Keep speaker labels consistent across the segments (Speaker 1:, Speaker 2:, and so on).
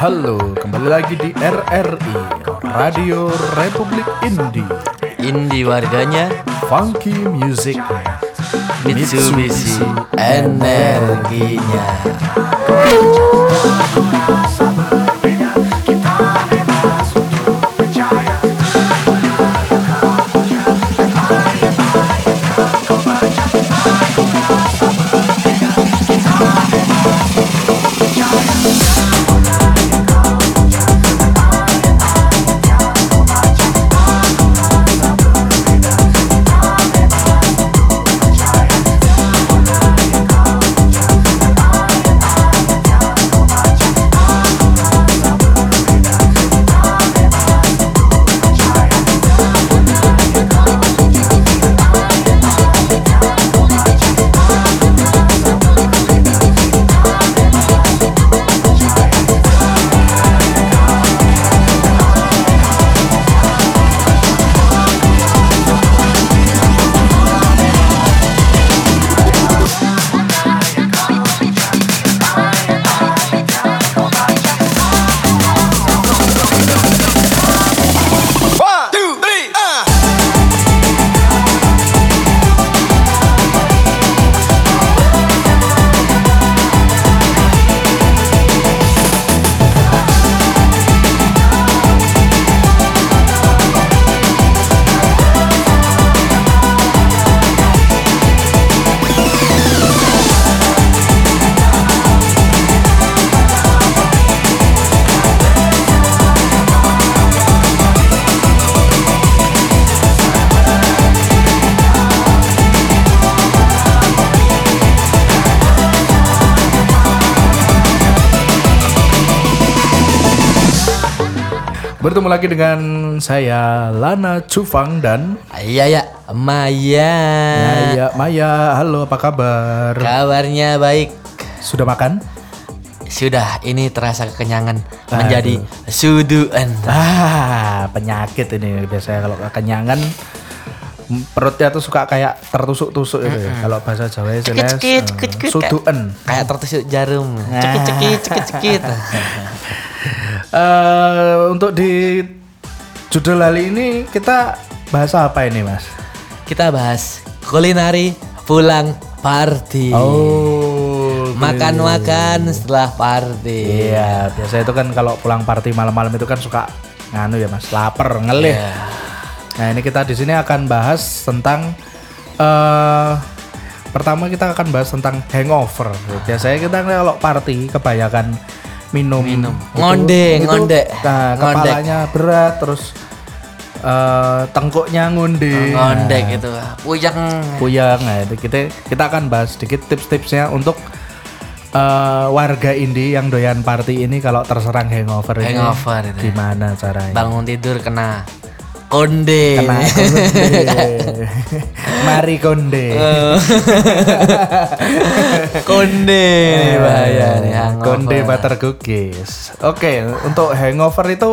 Speaker 1: Halo, kembali lagi di RRI Radio Republik Indi
Speaker 2: Indi warganya
Speaker 1: Funky Music
Speaker 2: Mitsubishi energinya.
Speaker 3: One, two, three, uh.
Speaker 1: Bertemu lagi dengan saya Lana Cufang dan
Speaker 2: Iya ya, Maya.
Speaker 1: Maya Maya, halo apa kabar?
Speaker 2: Kabarnya baik.
Speaker 1: Sudah makan?
Speaker 2: Sudah, ini terasa kekenyangan menjadi suduan.
Speaker 1: Ah, penyakit ini biasanya kalau kenyangan m- perutnya tuh suka kayak tertusuk-tusuk gitu ya. Kalau bahasa Jawa istilahnya eh,
Speaker 2: Cekit, cekit, cekit.
Speaker 1: suduen.
Speaker 2: Kayak tertusuk jarum.
Speaker 1: Nah.
Speaker 2: Cekit-cekit, cekit-cekit.
Speaker 1: Eh, untuk di judul kali ini kita bahasa apa ini, Mas?
Speaker 2: Kita bahas kulinari pulang party.
Speaker 1: Oh,
Speaker 2: Makan-makan setelah party.
Speaker 1: Iya, biasanya itu kan kalau pulang party malam-malam itu kan suka nganu ya mas, lapar, ngelih.
Speaker 2: Iya.
Speaker 1: Nah ini kita di sini akan bahas tentang eh pertama kita akan bahas tentang hangover. Biasanya kita kalau party kebanyakan minum, minum.
Speaker 2: Ngonde, ngonde. Ngonde.
Speaker 1: kepalanya berat, terus eh tengkuknya ngunde.
Speaker 2: Ngondek gitu. Puyeng.
Speaker 1: Puyeng, nah itu kita kita akan bahas sedikit tips-tipsnya untuk eh, warga indie yang doyan party ini kalau terserang hangover, ini
Speaker 2: Hangover itu ya.
Speaker 1: gimana caranya?
Speaker 2: Bangun tidur kena konde.
Speaker 1: Kena konde. Mari konde.
Speaker 2: Oh, konde ini bahaya nih iya, hangover.
Speaker 1: Eh, Konde butter cookies. Oke, untuk hangover itu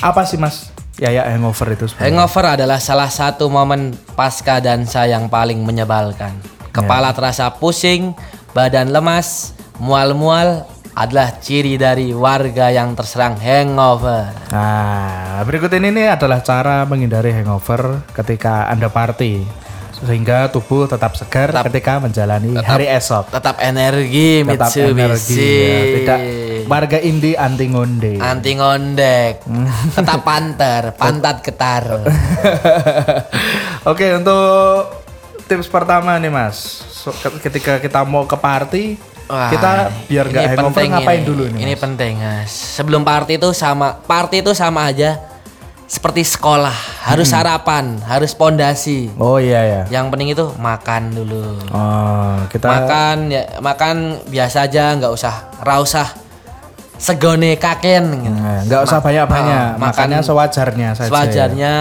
Speaker 1: apa sih Mas? Ya ya hangover itu sebenarnya.
Speaker 2: Hangover adalah salah satu momen pasca dansa yang paling menyebalkan.
Speaker 1: Ya.
Speaker 2: Kepala terasa pusing, badan lemas, mual-mual adalah ciri dari warga yang terserang hangover.
Speaker 1: Nah, berikut ini nih adalah cara menghindari hangover ketika Anda party sehingga tubuh tetap segar ketika menjalani hari esok.
Speaker 2: Tetap energi
Speaker 1: tetap energi
Speaker 2: Mitsubishi.
Speaker 1: ya. tidak warga indie anti ngonde
Speaker 2: Anti ngondek.
Speaker 1: Hmm.
Speaker 2: Tetap panter, pantat ketar.
Speaker 1: oke untuk tips pertama nih mas So, ke- ketika kita mau ke party
Speaker 2: Wah,
Speaker 1: kita biar nggak
Speaker 2: ini
Speaker 1: hangover
Speaker 2: penting
Speaker 1: ngapain
Speaker 2: ini.
Speaker 1: dulu nih
Speaker 2: Ini
Speaker 1: mas?
Speaker 2: penting Mas. Sebelum party itu sama party itu sama aja seperti sekolah, harus
Speaker 1: Hmm.
Speaker 2: sarapan, harus pondasi.
Speaker 1: oh iya ya
Speaker 2: Yang penting itu makan dulu.
Speaker 1: oh, kita
Speaker 2: Makan ya makan biasa aja, nggak usah rausah segone kaken. gitu.
Speaker 1: Nah, nggak usah
Speaker 2: Ma-
Speaker 1: banyak banyak
Speaker 2: Ah, makan
Speaker 1: makannya sewajarnya saja ya.
Speaker 2: sewajarnya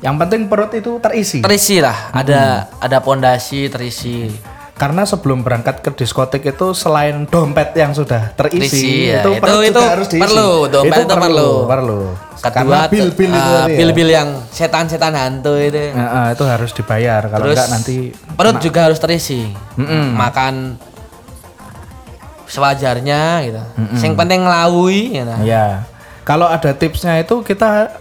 Speaker 1: yang penting perut itu terisi
Speaker 2: terisi lah. Ada
Speaker 1: Hmm.
Speaker 2: ada pondasi terisi.
Speaker 1: karena sebelum berangkat ke diskotik itu selain dompet yang sudah terisi
Speaker 2: Terisi, ya.
Speaker 1: itu
Speaker 2: Itu-
Speaker 1: perut juga
Speaker 2: itu
Speaker 1: harus diisi
Speaker 2: perlu, dompet itu perlu.
Speaker 1: perlu karena
Speaker 2: Kedua
Speaker 1: bil-bil itu
Speaker 2: ah,
Speaker 1: tadi ya.
Speaker 2: bil-bil yang setan-setan hantu itu.
Speaker 1: Nah, eh, itu harus dibayar kalau
Speaker 2: Terus
Speaker 1: enggak nanti
Speaker 2: perut juga harus terisi. Makan sewajarnya gitu. Yang penting ngelawi gitu.
Speaker 1: Ya, kalau ada tipsnya itu kita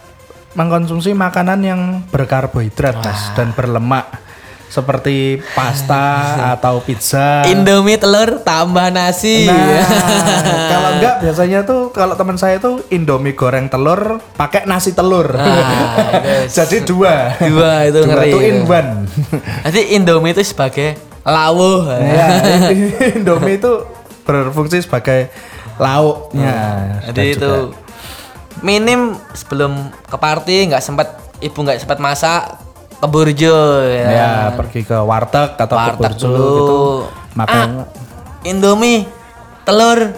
Speaker 1: mengkonsumsi makanan yang berkarbohidrat Mas, dan berlemak seperti pasta atau pizza.
Speaker 2: Indomie telur tambah nasi. Ya.
Speaker 1: Nah, kalau enggak biasanya tuh kalau teman saya tuh Indomie goreng telur pakai nasi telur.
Speaker 2: Nah, itu-
Speaker 1: Jadi dua.
Speaker 2: Dua itu
Speaker 1: Dua
Speaker 2: ngeri.
Speaker 1: tuh in
Speaker 2: itu.
Speaker 1: one.
Speaker 2: Nanti Indomie itu sebagai lawuh.
Speaker 1: ya, Indomie itu berfungsi sebagai lauknya.
Speaker 2: Hmm. Jadi
Speaker 1: Dan
Speaker 2: itu minim sebelum ke party nggak sempat ibu nggak sempat masak ke burjo ya.
Speaker 1: Ya, pergi ke warteg atau ke
Speaker 2: Warteg
Speaker 1: burjo
Speaker 2: dulu.
Speaker 1: gitu. Makan
Speaker 2: Ah, Indomie, telur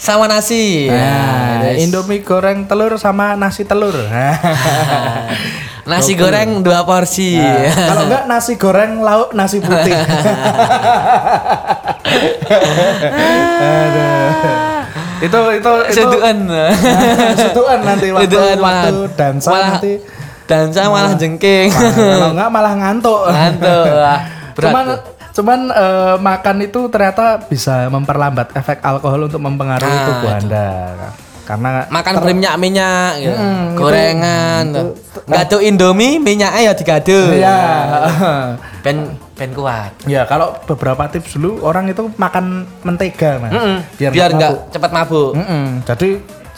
Speaker 2: sama nasi.
Speaker 1: Nah,
Speaker 2: Ya, itu.
Speaker 1: Indomie goreng telur sama nasi telur.
Speaker 2: nasi goreng dua porsi.
Speaker 1: Nah, Kalau enggak nasi goreng lauk nasi putih. Aduh. Itu itu itu
Speaker 2: Seduan.
Speaker 1: Seduan nanti waktu
Speaker 2: Seduan
Speaker 1: waktu dansa
Speaker 2: malah-
Speaker 1: nanti.
Speaker 2: Dansa malah jengking.
Speaker 1: Nah, kalau enggak malah ngantuk.
Speaker 2: Ngantuk. Wah, Berat.
Speaker 1: cuman cuman eh, makan itu ternyata bisa memperlambat efek alkohol untuk mempengaruhi
Speaker 2: Nah,
Speaker 1: tubuh Anda. Karena
Speaker 2: makan berminyak-minyak gitu. Gorengan. tuh. Gaduh Indomie, minyaknya ya digaduh.
Speaker 1: ya
Speaker 2: Ben ben kuat.
Speaker 1: Ya kalau beberapa tips dulu orang itu makan mentega mas,
Speaker 2: Biar,
Speaker 1: nggak
Speaker 2: nggak
Speaker 1: mabuk. Mm.
Speaker 2: cepat mabuk.
Speaker 1: Mm-mm. Jadi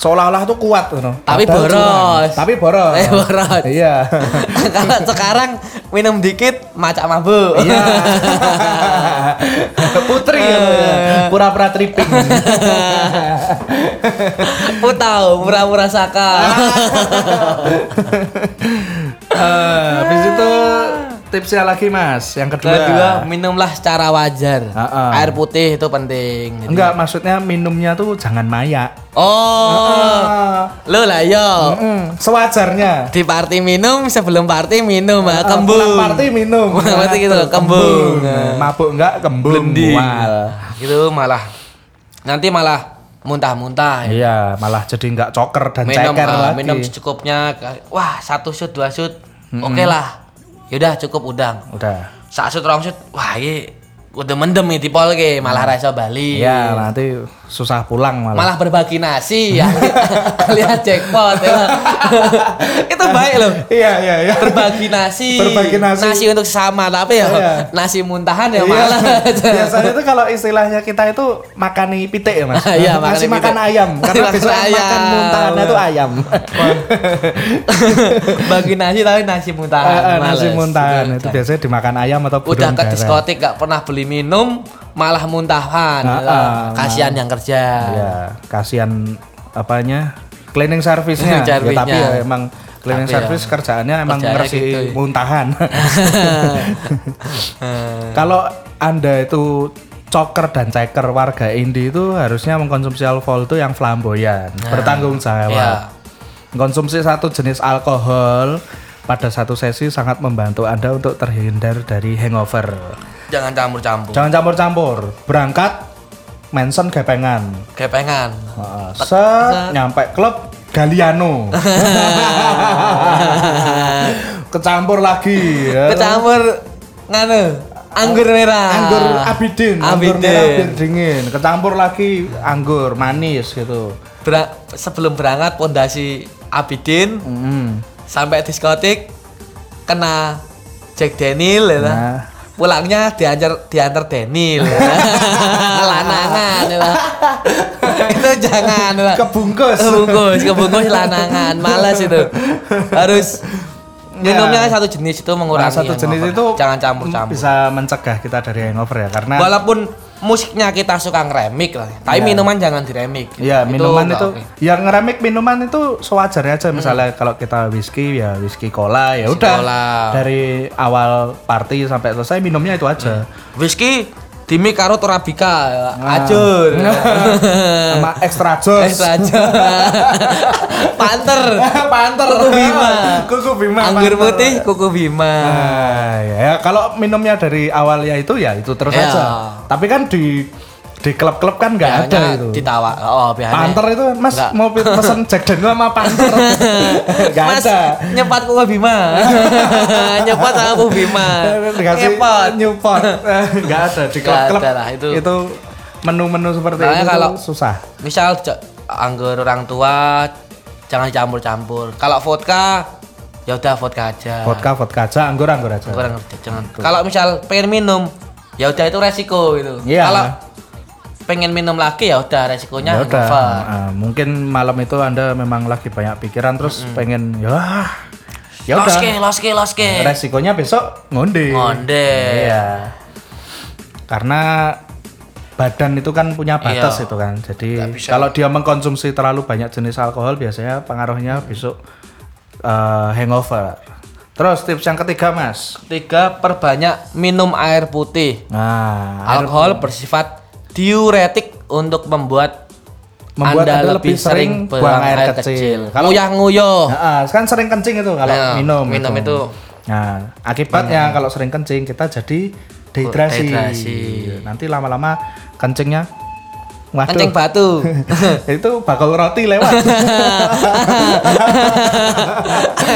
Speaker 1: seolah-olah tuh kuat, you know.
Speaker 2: Tapi
Speaker 1: Padahal
Speaker 2: boros.
Speaker 1: curang. Tapi boros.
Speaker 2: Eh, boros.
Speaker 1: Iya.
Speaker 2: Kalau sekarang minum dikit macak mabuk.
Speaker 1: Iya. Putri
Speaker 2: Eh.
Speaker 1: gitu ya. pura-pura tripping.
Speaker 2: Utau, murah-murah
Speaker 1: Ah.
Speaker 2: saka.
Speaker 1: Eh, habis itu tipsnya lagi mas, yang kedua.
Speaker 2: Kedua, minumlah secara wajar.
Speaker 1: Ha-ha.
Speaker 2: Air putih itu penting. Jadi-
Speaker 1: Enggak, maksudnya minumnya tuh jangan maya.
Speaker 2: Oh,
Speaker 1: Eh,
Speaker 2: lo lah yo.
Speaker 1: mm, sewajarnya.
Speaker 2: Di party minum, sebelum party minum, ah, kembung.
Speaker 1: Pulang Eh, party minum.
Speaker 2: Berarti gitu,
Speaker 1: Nah, tuh,
Speaker 2: kembung.
Speaker 1: Nah, Mabuk enggak kembung. Mual.
Speaker 2: Gitu malah nanti malah muntah-muntah.
Speaker 1: Iya, malah jadi enggak coker dan
Speaker 2: Minum,
Speaker 1: ceker
Speaker 2: ah,
Speaker 1: lagi.
Speaker 2: minum secukupnya. Wah, satu shoot, dua shoot. Oke lah. Yaudah cukup udang.
Speaker 1: Udah.
Speaker 2: Sak shoot, rong shoot. Wah, ini udah mendem nih dipolke, malah rasa Bali.
Speaker 1: Iya, nanti susah pulang malah.
Speaker 2: malah berbagi nasi ya lihat jackpot ya. itu baik loh
Speaker 1: Iya, iya, iya.
Speaker 2: berbagi nasi
Speaker 1: Berbagi nasi.
Speaker 2: untuk sesama tapi ya
Speaker 1: Iya.
Speaker 2: nasi muntahan ya
Speaker 1: Iya.
Speaker 2: malah
Speaker 1: Biasanya tuh kalau istilahnya kita itu makani pitik ya mas
Speaker 2: Iya,
Speaker 1: Masih
Speaker 2: makani
Speaker 1: makan
Speaker 2: pitik.
Speaker 1: ayam Karena
Speaker 2: Makan
Speaker 1: besok yang makan
Speaker 2: ayam.
Speaker 1: muntahannya tuh ayam
Speaker 2: bagi nasi tapi nasi muntahan
Speaker 1: Eh, eh, Nasi
Speaker 2: males.
Speaker 1: muntahan
Speaker 2: Betul,
Speaker 1: Itu
Speaker 2: betul.
Speaker 1: biasanya dimakan ayam atau
Speaker 2: udah
Speaker 1: burung
Speaker 2: ke
Speaker 1: darah.
Speaker 2: diskotik gak pernah beli minum malah muntahan
Speaker 1: Ah,
Speaker 2: gitu.
Speaker 1: ah,
Speaker 2: kasihan yang kerja
Speaker 1: Iya, kasihan apanya cleaning service-nya. Ya,
Speaker 2: Service-nya.
Speaker 1: tapi ya emang cleaning
Speaker 2: Tapi ya,
Speaker 1: service kerjaannya emang
Speaker 2: kerjaannya
Speaker 1: ngersih
Speaker 2: gitu ya.
Speaker 1: muntahan. Kalau Anda itu coker dan ceker warga indie itu harusnya mengkonsumsi alkohol itu yang flamboyan, bertanggung jawab.
Speaker 2: Nah, iya.
Speaker 1: Konsumsi satu jenis alkohol pada satu sesi sangat membantu Anda untuk terhindar dari hangover.
Speaker 2: Oh. jangan campur-campur
Speaker 1: Jangan campur-campur. Berangkat mention gepengan.
Speaker 2: kepengan
Speaker 1: Heeh. Set, nyampe klub Galiano. Kecampur lagi. ya.
Speaker 2: kecampur nganu anggur merah
Speaker 1: Anggur abidin, anggur
Speaker 2: Abidin.
Speaker 1: merah bir dingin. Kecampur lagi anggur manis gitu.
Speaker 2: Bera- sebelum berangkat pondasi abidin
Speaker 1: Mm.
Speaker 2: Mm-hmm. sampai diskotik kena Jack Daniel ya lah.
Speaker 1: Nah.
Speaker 2: pulangnya diantar diantar Daniel ya. lanangan ya lah. itu jangan ya lah.
Speaker 1: Kebungkus.
Speaker 2: kebungkus kebungkus lanangan malas itu harus minumnya satu jenis itu
Speaker 1: Ya. Nah,
Speaker 2: mengurangi
Speaker 1: satu jenis
Speaker 2: hangover.
Speaker 1: itu
Speaker 2: jangan campur-campur
Speaker 1: bisa mencegah kita dari hangover ya karena
Speaker 2: Walaupun musiknya kita suka ngeremik lah, tapi
Speaker 1: Iya.
Speaker 2: minuman jangan diremik.
Speaker 1: Ya minuman
Speaker 2: nggak
Speaker 1: itu,
Speaker 2: oke. Mm-hmm.
Speaker 1: yang ngeremik minuman itu sewajarnya aja misalnya kalau kita whisky ya whisky cola ya
Speaker 2: Whisky
Speaker 1: udah
Speaker 2: cola.
Speaker 1: dari awal party sampai selesai minumnya itu
Speaker 2: Mm.
Speaker 1: aja.
Speaker 2: Whisky dimik karo Torabika, ya.
Speaker 1: Nah.
Speaker 2: acur.
Speaker 1: sama extra jos
Speaker 2: Eh saja. Panter.
Speaker 1: panter
Speaker 2: Kuku Bima.
Speaker 1: kuku bima
Speaker 2: Anggur
Speaker 1: panter.
Speaker 2: putih kuku Bima.
Speaker 1: Ah, ya kalau minumnya dari awal ya itu ya itu terus
Speaker 2: Ya.
Speaker 1: aja tapi kan di di klub-klub kan nggak ada
Speaker 2: Biasanya
Speaker 1: itu
Speaker 2: Ditawa. Oh, biasanya.
Speaker 1: panter itu mas
Speaker 2: Nggak.
Speaker 1: mau pe- pesen jack dan sama panter nggak
Speaker 2: Mas,
Speaker 1: ada
Speaker 2: nyepat kuku Bima. nyepat sama kuku Bima.
Speaker 1: dikasih
Speaker 2: Ngepot.
Speaker 1: nyupot Eh, nggak ada di
Speaker 2: Nggak
Speaker 1: klub-klub
Speaker 2: ada lah, itu.
Speaker 1: itu menu-menu seperti
Speaker 2: Makanya
Speaker 1: itu tuh
Speaker 2: kalau-
Speaker 1: susah.
Speaker 2: Misal j- anggur orang tua jangan campur-campur. Kalau vodka ya udah vodka aja.
Speaker 1: Vodka, vodka aja, anggur, anggur aja.
Speaker 2: Anggur, anggur, jangan. Kalau misal pengen minum ya udah itu resiko gitu.
Speaker 1: Iya.
Speaker 2: Kalau pengen minum lagi ya udah resikonya
Speaker 1: Ya udah,
Speaker 2: hangover.
Speaker 1: ah, mungkin malam itu anda memang lagi banyak pikiran terus pengen ya, ya udah.
Speaker 2: Loske, loske, loske.
Speaker 1: Resikonya besok ngonde.
Speaker 2: Ngonde.
Speaker 1: Iya. Karena badan itu kan punya batas
Speaker 2: Iya.
Speaker 1: itu kan. Jadi kalau dia mengkonsumsi terlalu banyak jenis alkohol biasanya pengaruhnya besok eh, hangover. Terus tips yang ketiga, Mas.
Speaker 2: Tiga, perbanyak minum air putih.
Speaker 1: Nah, air
Speaker 2: Alkohol bersifat diuretik untuk membuat
Speaker 1: membuat
Speaker 2: anda, lebih sering
Speaker 1: buang air, kecil. Kalau
Speaker 2: Kalau yang nguyo,
Speaker 1: Nah, ah, kan sering kencing itu kalau
Speaker 2: Nah,
Speaker 1: minum.
Speaker 2: Oh. minum itu. Hmm.
Speaker 1: Nah, akibatnya kalau sering kencing kita jadi dehidrasi.
Speaker 2: Dehidrasi.
Speaker 1: Nanti lama-lama kencingnya waduh.
Speaker 2: kencing batu.
Speaker 1: itu bakal roti lewat.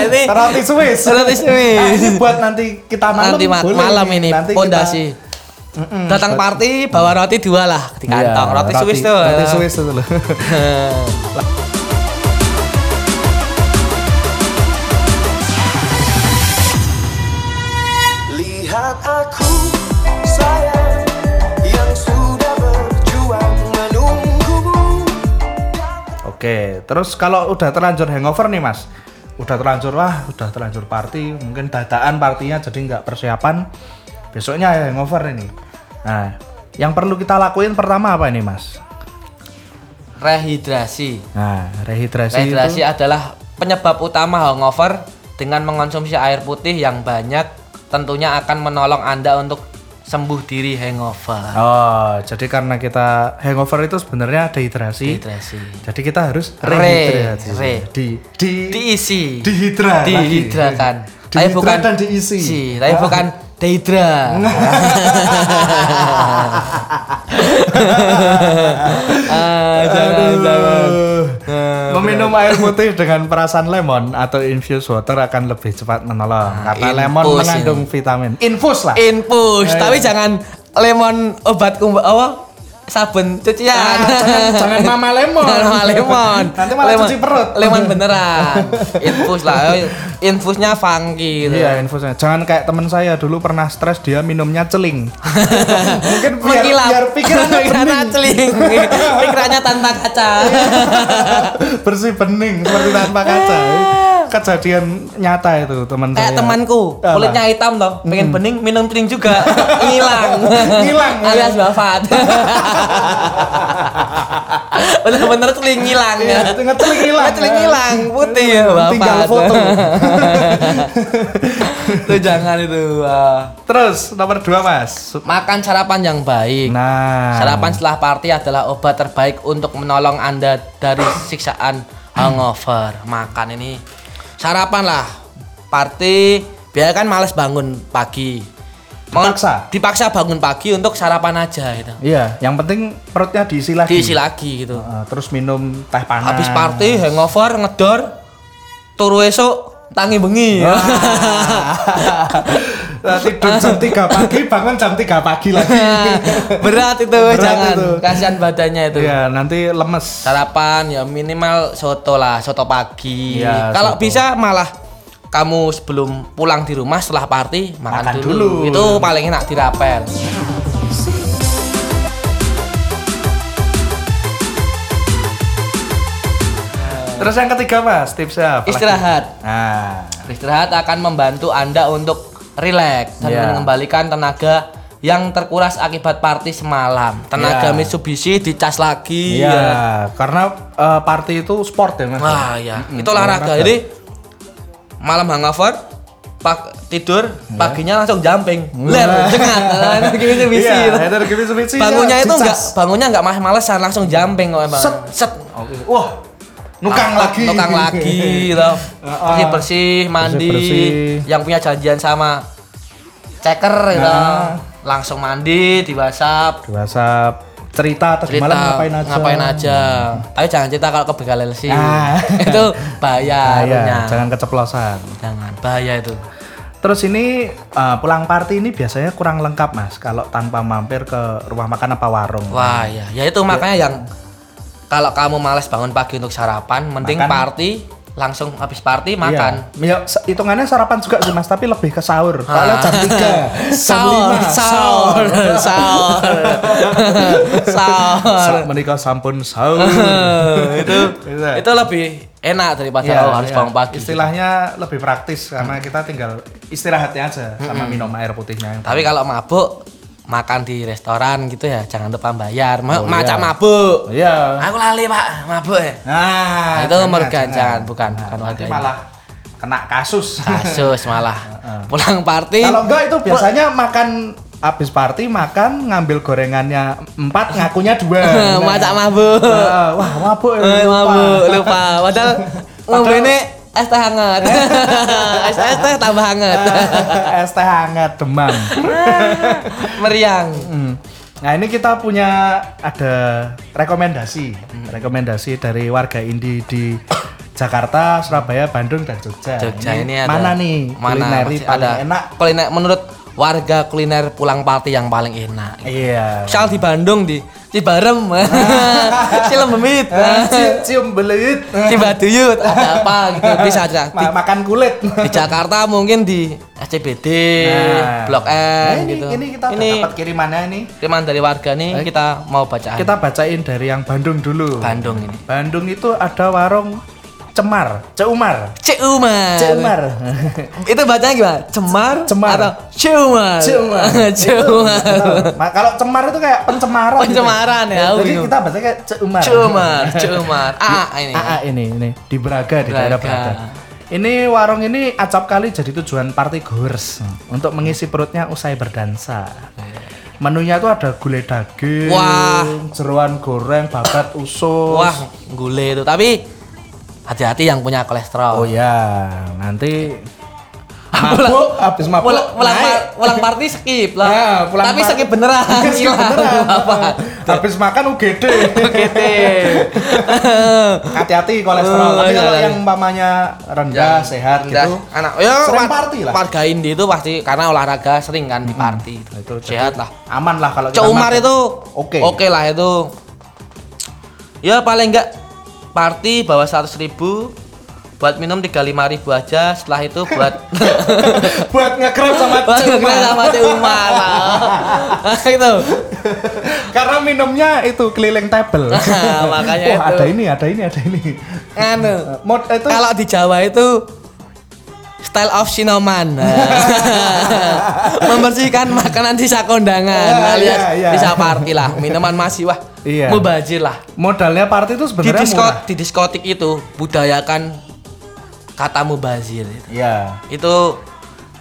Speaker 2: Ini
Speaker 1: roti Swiss.
Speaker 2: Roti Swiss.
Speaker 1: Ah, ini buat nanti kita malam.
Speaker 2: nanti ma-
Speaker 1: boleh
Speaker 2: malam
Speaker 1: nih.
Speaker 2: ini
Speaker 1: Nanti kita-
Speaker 2: pondasi. Datang party bawa roti dua lah di
Speaker 1: Iya,
Speaker 2: kantong. roti, Swiss tuh.
Speaker 1: Roti Swiss itu loh.
Speaker 3: Lihat aku sayang yang sudah berjuang menunggumu
Speaker 1: Oke, terus kalau udah terlanjur hangover nih mas, udah terlanjur wah, udah terlanjur party, mungkin dadaan partinya jadi nggak persiapan, besoknya hangover ini. Nah, yang perlu kita lakuin pertama apa ini mas?
Speaker 2: Rehidrasi.
Speaker 1: Nah, rehidrasi,
Speaker 2: Rehidrasi
Speaker 1: itu
Speaker 2: adalah penyebab utama hangover dengan mengonsumsi air putih yang banyak tentunya akan menolong Anda untuk sembuh diri hangover.
Speaker 1: Oh, jadi karena kita hangover itu sebenarnya dehidrasi.
Speaker 2: Rehidrasi.
Speaker 1: Jadi kita harus
Speaker 2: Re,
Speaker 1: rehidrasi.
Speaker 2: re.
Speaker 1: Di, di,
Speaker 2: Diisi.
Speaker 1: dihidra lagi.
Speaker 2: Dihidrakan. Tapi
Speaker 1: Dihidra
Speaker 2: bukan
Speaker 1: dan diisi.
Speaker 2: Si, tapi
Speaker 1: Ah.
Speaker 2: bukan dehidra. ah, jangan,
Speaker 1: Aduh.
Speaker 2: jangan. Nah,
Speaker 1: Meminum air putih dengan perasan lemon atau infused water akan lebih cepat menolong karena
Speaker 2: infus iya.
Speaker 1: lemon
Speaker 2: ini.
Speaker 1: mengandung vitamin. Infus lah.
Speaker 2: Infus, tapi jangan lemon obat kumbu apa? Sabun cucian.
Speaker 1: Ah, jangan, jangan mama lemon.
Speaker 2: Jangan sama lemon.
Speaker 1: Nanti malah
Speaker 2: Lemon-
Speaker 1: cuci perut.
Speaker 2: Lemon beneran. Infus lah. eh, Infusnya funky gitu.
Speaker 1: Iya infusnya. Jangan kayak teman saya dulu pernah stres dia minumnya celing. Mungkin biar,
Speaker 2: Mengkilap.
Speaker 1: biar pikirannya
Speaker 2: Pikirannya
Speaker 1: bening.
Speaker 2: celing. Pikirannya tanpa kaca.
Speaker 1: bersih bening seperti tanpa
Speaker 2: Ah.
Speaker 1: kaca. Kejadian nyata itu teman saya.
Speaker 2: Kayak
Speaker 1: Iya.
Speaker 2: temanku,
Speaker 1: Apa?
Speaker 2: kulitnya hitam toh, pengen bening, minum celing juga, ngilang.
Speaker 1: Ngilang, ya.
Speaker 2: Alias wafat. Bener-bener celing ngilang.
Speaker 1: Iya, ngeceling hilang.
Speaker 2: Ngeceling hilang, putih ya,
Speaker 1: Tinggal
Speaker 2: wafat.
Speaker 1: foto.
Speaker 2: Itu jangan itu. wah.
Speaker 1: Terus nomor dua mas.
Speaker 2: Makan sarapan yang baik.
Speaker 1: Nah.
Speaker 2: Sarapan setelah party adalah obat terbaik untuk menolong Anda dari siksaan hangover. Makan ini sarapan lah. Party biar kan males bangun pagi. Meng-
Speaker 1: Dipaksa?
Speaker 2: Dipaksa bangun pagi untuk sarapan aja gitu.
Speaker 1: Iya, yang penting perutnya diisi lagi.
Speaker 2: Diisi lagi gitu.
Speaker 1: Uh, terus minum teh panas.
Speaker 2: Habis party hangover ngedor turu esok tangi bengi.
Speaker 1: Ah. Nah, Tidur jam 3 pagi, bangun jam 3 pagi lagi.
Speaker 2: Berat itu
Speaker 1: Berat
Speaker 2: jangan.
Speaker 1: itu.
Speaker 2: Kasihan badannya itu.
Speaker 1: Iya, nanti lemes.
Speaker 2: sarapan ya minimal soto lah soto pagi
Speaker 1: Iya,
Speaker 2: kalau
Speaker 1: soto.
Speaker 2: bisa malah kamu sebelum pulang di rumah setelah party makan,
Speaker 1: Makan
Speaker 2: dulu.
Speaker 1: dulu.
Speaker 2: itu paling enak dirapel
Speaker 1: Terus yang ketiga, Mas, tipsnya apa lagi?
Speaker 2: istirahat
Speaker 1: Nah,
Speaker 2: istirahat akan membantu anda untuk rileks dan
Speaker 1: Iya.
Speaker 2: mengembalikan tenaga yang terkuras akibat party semalam tenaga
Speaker 1: Iya.
Speaker 2: Mitsubishi dicas lagi
Speaker 1: iya, karena uh, party itu sport ya, Mas.
Speaker 2: Wah ya,
Speaker 1: Mm-mm,
Speaker 2: itu olahraga. Jadi malam hangover, pak tidur, paginya langsung jumping. Ler, Nah, jengat. Energi Mitsubishi.
Speaker 1: Iya. Iya, energi Mitsubishi.
Speaker 2: Bangunnya itu
Speaker 1: Dicas.
Speaker 2: enggak bangunnya enggak males-malesan langsung jumping kok emang.
Speaker 1: Set.
Speaker 2: Set.
Speaker 1: Wah, nukang
Speaker 2: Nukang-
Speaker 1: lagi.
Speaker 2: Ah,
Speaker 1: Ah,
Speaker 2: Nukang lagi gitu. Bersih bersih, mandi.
Speaker 1: Bersih-bersih.
Speaker 2: Yang punya janjian sama ceker gitu.
Speaker 1: Nah.
Speaker 2: Langsung mandi di WhatsApp.
Speaker 1: Di WhatsApp cerita tadi
Speaker 2: Cerita
Speaker 1: malam ngapain aja.
Speaker 2: aja. Tapi jangan cerita kalau kebegalan sih.
Speaker 1: Ah.
Speaker 2: itu bahaya.
Speaker 1: Ah, iya,
Speaker 2: arunya.
Speaker 1: jangan keceplosan.
Speaker 2: Jangan bahaya itu.
Speaker 1: Terus ini eh, pulang party ini biasanya kurang lengkap mas kalau tanpa mampir ke rumah makan apa warung.
Speaker 2: Wah ya, ya itu makanya yang kalau kamu malas bangun pagi untuk sarapan,
Speaker 1: Makan.
Speaker 2: mending party langsung habis party makan.
Speaker 1: Iya. Ya, se- hitungannya sarapan juga sih mas, tapi lebih ke sahur. Soalnya
Speaker 2: Ah.
Speaker 1: jam 3, jam
Speaker 2: Sahur,
Speaker 1: 5,
Speaker 2: sahur, sahur, sahur.
Speaker 1: Sa- menikah sampun sahur. itu,
Speaker 2: Itu lebih enak daripada
Speaker 1: Iya,
Speaker 2: oh, harus
Speaker 1: iya.
Speaker 2: bangun pagi.
Speaker 1: Istilahnya lebih praktis karena kita tinggal istirahatnya aja sama minum air putihnya. yang
Speaker 2: Tapi kalau mabuk makan di restoran gitu ya, jangan lupa bayar. Ma
Speaker 1: Oh,
Speaker 2: macam
Speaker 1: iya.
Speaker 2: mabuk.
Speaker 1: Iya.
Speaker 2: Aku lali pak, mabuk ya.
Speaker 1: Nah,
Speaker 2: Nah, itu mergan, jangan, bukan, bukan
Speaker 1: nanti
Speaker 2: warga ini.
Speaker 1: malah kena kasus.
Speaker 2: Kasus malah. Pulang party. eh,
Speaker 1: Kalau enggak itu biasanya makan habis party makan ngambil gorengannya empat ngakunya dua. Nah.
Speaker 2: macam mabuk.
Speaker 1: Nah, wah mabuk. ya,
Speaker 2: Eh,
Speaker 1: lupa.
Speaker 2: mabuk, lupa. Padahal ngombe ini es teh hangat. es es teh tambah hangat.
Speaker 1: Eh. es teh hangat demam.
Speaker 2: Meriang.
Speaker 1: Hmm. Nah ini kita punya ada rekomendasi,
Speaker 2: Hmm.
Speaker 1: rekomendasi dari warga indie di Jakarta, Surabaya, Bandung dan Jogja.
Speaker 2: Jogja ini, ada
Speaker 1: mana nih
Speaker 2: Mana
Speaker 1: kulineri
Speaker 2: masih
Speaker 1: paling enak?
Speaker 2: Kuliner menurut warga kuliner pulang party yang paling enak.
Speaker 1: Iya.
Speaker 2: Misal di Bandung di Cibarem, Silem Bemit,
Speaker 1: Cium- Eh, Cium belit.
Speaker 2: Cibaduyut, ada apa gitu bisa aja. Eh, Di,
Speaker 1: Ma- makan kulit.
Speaker 2: di Jakarta mungkin di SCBD,
Speaker 1: Nah.
Speaker 2: Blok
Speaker 1: Nah,
Speaker 2: M
Speaker 1: ini,
Speaker 2: gitu.
Speaker 1: ini kita udah dapat kirimannya ini.
Speaker 2: kiriman dari warga nih kita mau bacaan.
Speaker 1: Kita bacain dari yang Bandung dulu.
Speaker 2: Bandung ini.
Speaker 1: Bandung itu ada warung Cemar, Ceumar,
Speaker 2: Cek Umar.
Speaker 1: Ceumar.
Speaker 2: Itu bacanya gimana? Cemar,
Speaker 1: Cemar.
Speaker 2: atau Cumar?
Speaker 1: Cumar.
Speaker 2: Cumar.
Speaker 1: Ma- kalau cemar itu kayak pencemaran. gitu.
Speaker 2: Pencemaran ya,
Speaker 1: Jadi
Speaker 2: bingung.
Speaker 1: kita bahasanya kayak ceumar.
Speaker 2: Cumar, Cumar.
Speaker 1: Iya.
Speaker 2: Ah, ini.
Speaker 1: AA ini ini di Braga di daerah
Speaker 2: Braga.
Speaker 1: Braga. Ini warung ini acap kali jadi tujuan party goers untuk mengisi perutnya usai berdansa. Menunya tuh ada gulai daging,
Speaker 2: Wah.
Speaker 1: jeroan goreng, babat usus.
Speaker 2: Wah, gule itu. Tapi hati-hati yang punya kolesterol.
Speaker 1: Oh ya, nanti
Speaker 2: Pulang-
Speaker 1: mabuk habis mabuk
Speaker 2: pulang, pulang,
Speaker 1: naik.
Speaker 2: par- pulang party skip
Speaker 1: Ya,
Speaker 2: lah.
Speaker 1: Nah, iya. pulang
Speaker 2: Tapi
Speaker 1: par-
Speaker 2: skip beneran.
Speaker 1: Skip
Speaker 2: hilang.
Speaker 1: beneran.
Speaker 2: Iya.
Speaker 1: Nah,
Speaker 2: Apa?
Speaker 1: Habis makan UGD.
Speaker 2: GT.
Speaker 1: Hati-hati kolesterol.
Speaker 2: Oh,
Speaker 1: Tapi
Speaker 2: iya,
Speaker 1: kalau
Speaker 2: iya.
Speaker 1: yang umpamanya rendah, sehat
Speaker 2: Rendah.
Speaker 1: gitu.
Speaker 2: Ya, Anak ya
Speaker 1: sering
Speaker 2: war-
Speaker 1: party lah.
Speaker 2: Warga Indi itu pasti karena olahraga sering kan di party.
Speaker 1: hmm, nah Itu jadi
Speaker 2: sehat lah.
Speaker 1: Aman lah kalau
Speaker 2: Cok Umar
Speaker 1: makan.
Speaker 2: itu
Speaker 1: Oke.
Speaker 2: oke lah itu ya paling enggak party bawa 100 ribu buat minum 35 ribu aja setelah itu buat
Speaker 1: buat ngegrab sama
Speaker 2: buat
Speaker 1: Cuk
Speaker 2: ngegrab
Speaker 1: Umar.
Speaker 2: sama Cok Umar lah itu
Speaker 1: Karena minumnya itu keliling table.
Speaker 2: Makanya
Speaker 1: Wah,
Speaker 2: itu.
Speaker 1: ada ini, ada ini, ada ini.
Speaker 2: anu
Speaker 1: Mod itu
Speaker 2: kalau di Jawa itu style of sinoman membersihkan makanan Nah, sisa
Speaker 1: Ya,
Speaker 2: kondangan alias
Speaker 1: ya, ya.
Speaker 2: sisa party lah minuman masih wah
Speaker 1: Iya.
Speaker 2: mubazir lah
Speaker 1: modalnya party itu
Speaker 2: di
Speaker 1: sebenarnya
Speaker 2: diskot
Speaker 1: murah.
Speaker 2: di diskotik itu budayakan kata mubazir itu.
Speaker 1: Iya.
Speaker 2: itu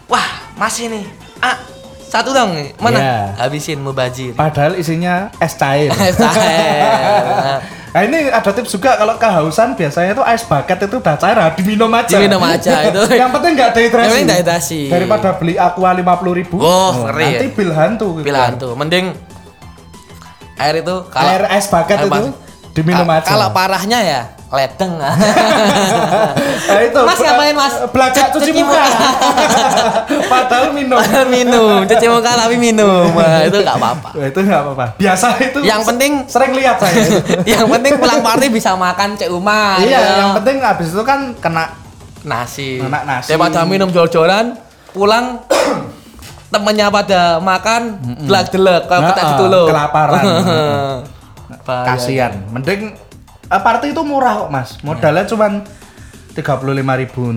Speaker 2: wah masih nih ah satu dong nih. mana
Speaker 1: Iya.
Speaker 2: habisin mubazir
Speaker 1: Padahal isinya es cair.
Speaker 2: Nah,
Speaker 1: Nah ini ada tips juga kalau kehausan biasanya itu ice bucket itu udah cair ah, diminum aja.
Speaker 2: Diminum aja, itu.
Speaker 1: Yang penting nggak dehidrasi.
Speaker 2: Yang penting nggak dehidrasi.
Speaker 1: Daripada beli aqua 50.000 ribu. nah,
Speaker 2: Oh, ngeri ya.
Speaker 1: Nanti bil hantu. gitu.
Speaker 2: pilihan tuh mending air itu kalau
Speaker 1: Air ice bucket
Speaker 2: air
Speaker 1: itu
Speaker 2: pas-
Speaker 1: diminum
Speaker 2: ka-
Speaker 1: aja.
Speaker 2: kalau parahnya ya ledeng
Speaker 1: Nah, itu
Speaker 2: Mas,
Speaker 1: bela-
Speaker 2: ngapain, Mas?
Speaker 1: Belakang
Speaker 2: Cuci-
Speaker 1: cuci
Speaker 2: cuci
Speaker 1: muka.
Speaker 2: muka.
Speaker 1: Padahal minum. Nah,
Speaker 2: minum cuci muka tapi minum Wah, itu nggak apa-apa
Speaker 1: Wah, itu nggak apa-apa. Biasa itu.
Speaker 2: Yang penting-
Speaker 1: sering lihat saya. itu.
Speaker 2: yang penting pulang party bisa makan cek umar
Speaker 1: iya,
Speaker 2: ya.
Speaker 1: yang penting habis itu kan kena
Speaker 2: nasi.
Speaker 1: Enak nasi.
Speaker 2: Daripada minum jor-joran, pulang temennya pada makan delak-delak kalau kita
Speaker 1: Nah,
Speaker 2: ditulung.
Speaker 1: kelaparan.
Speaker 2: Bahaya.
Speaker 1: kasihan
Speaker 2: ya.
Speaker 1: mending eh, party itu murah kok mas modalnya cuman 35.000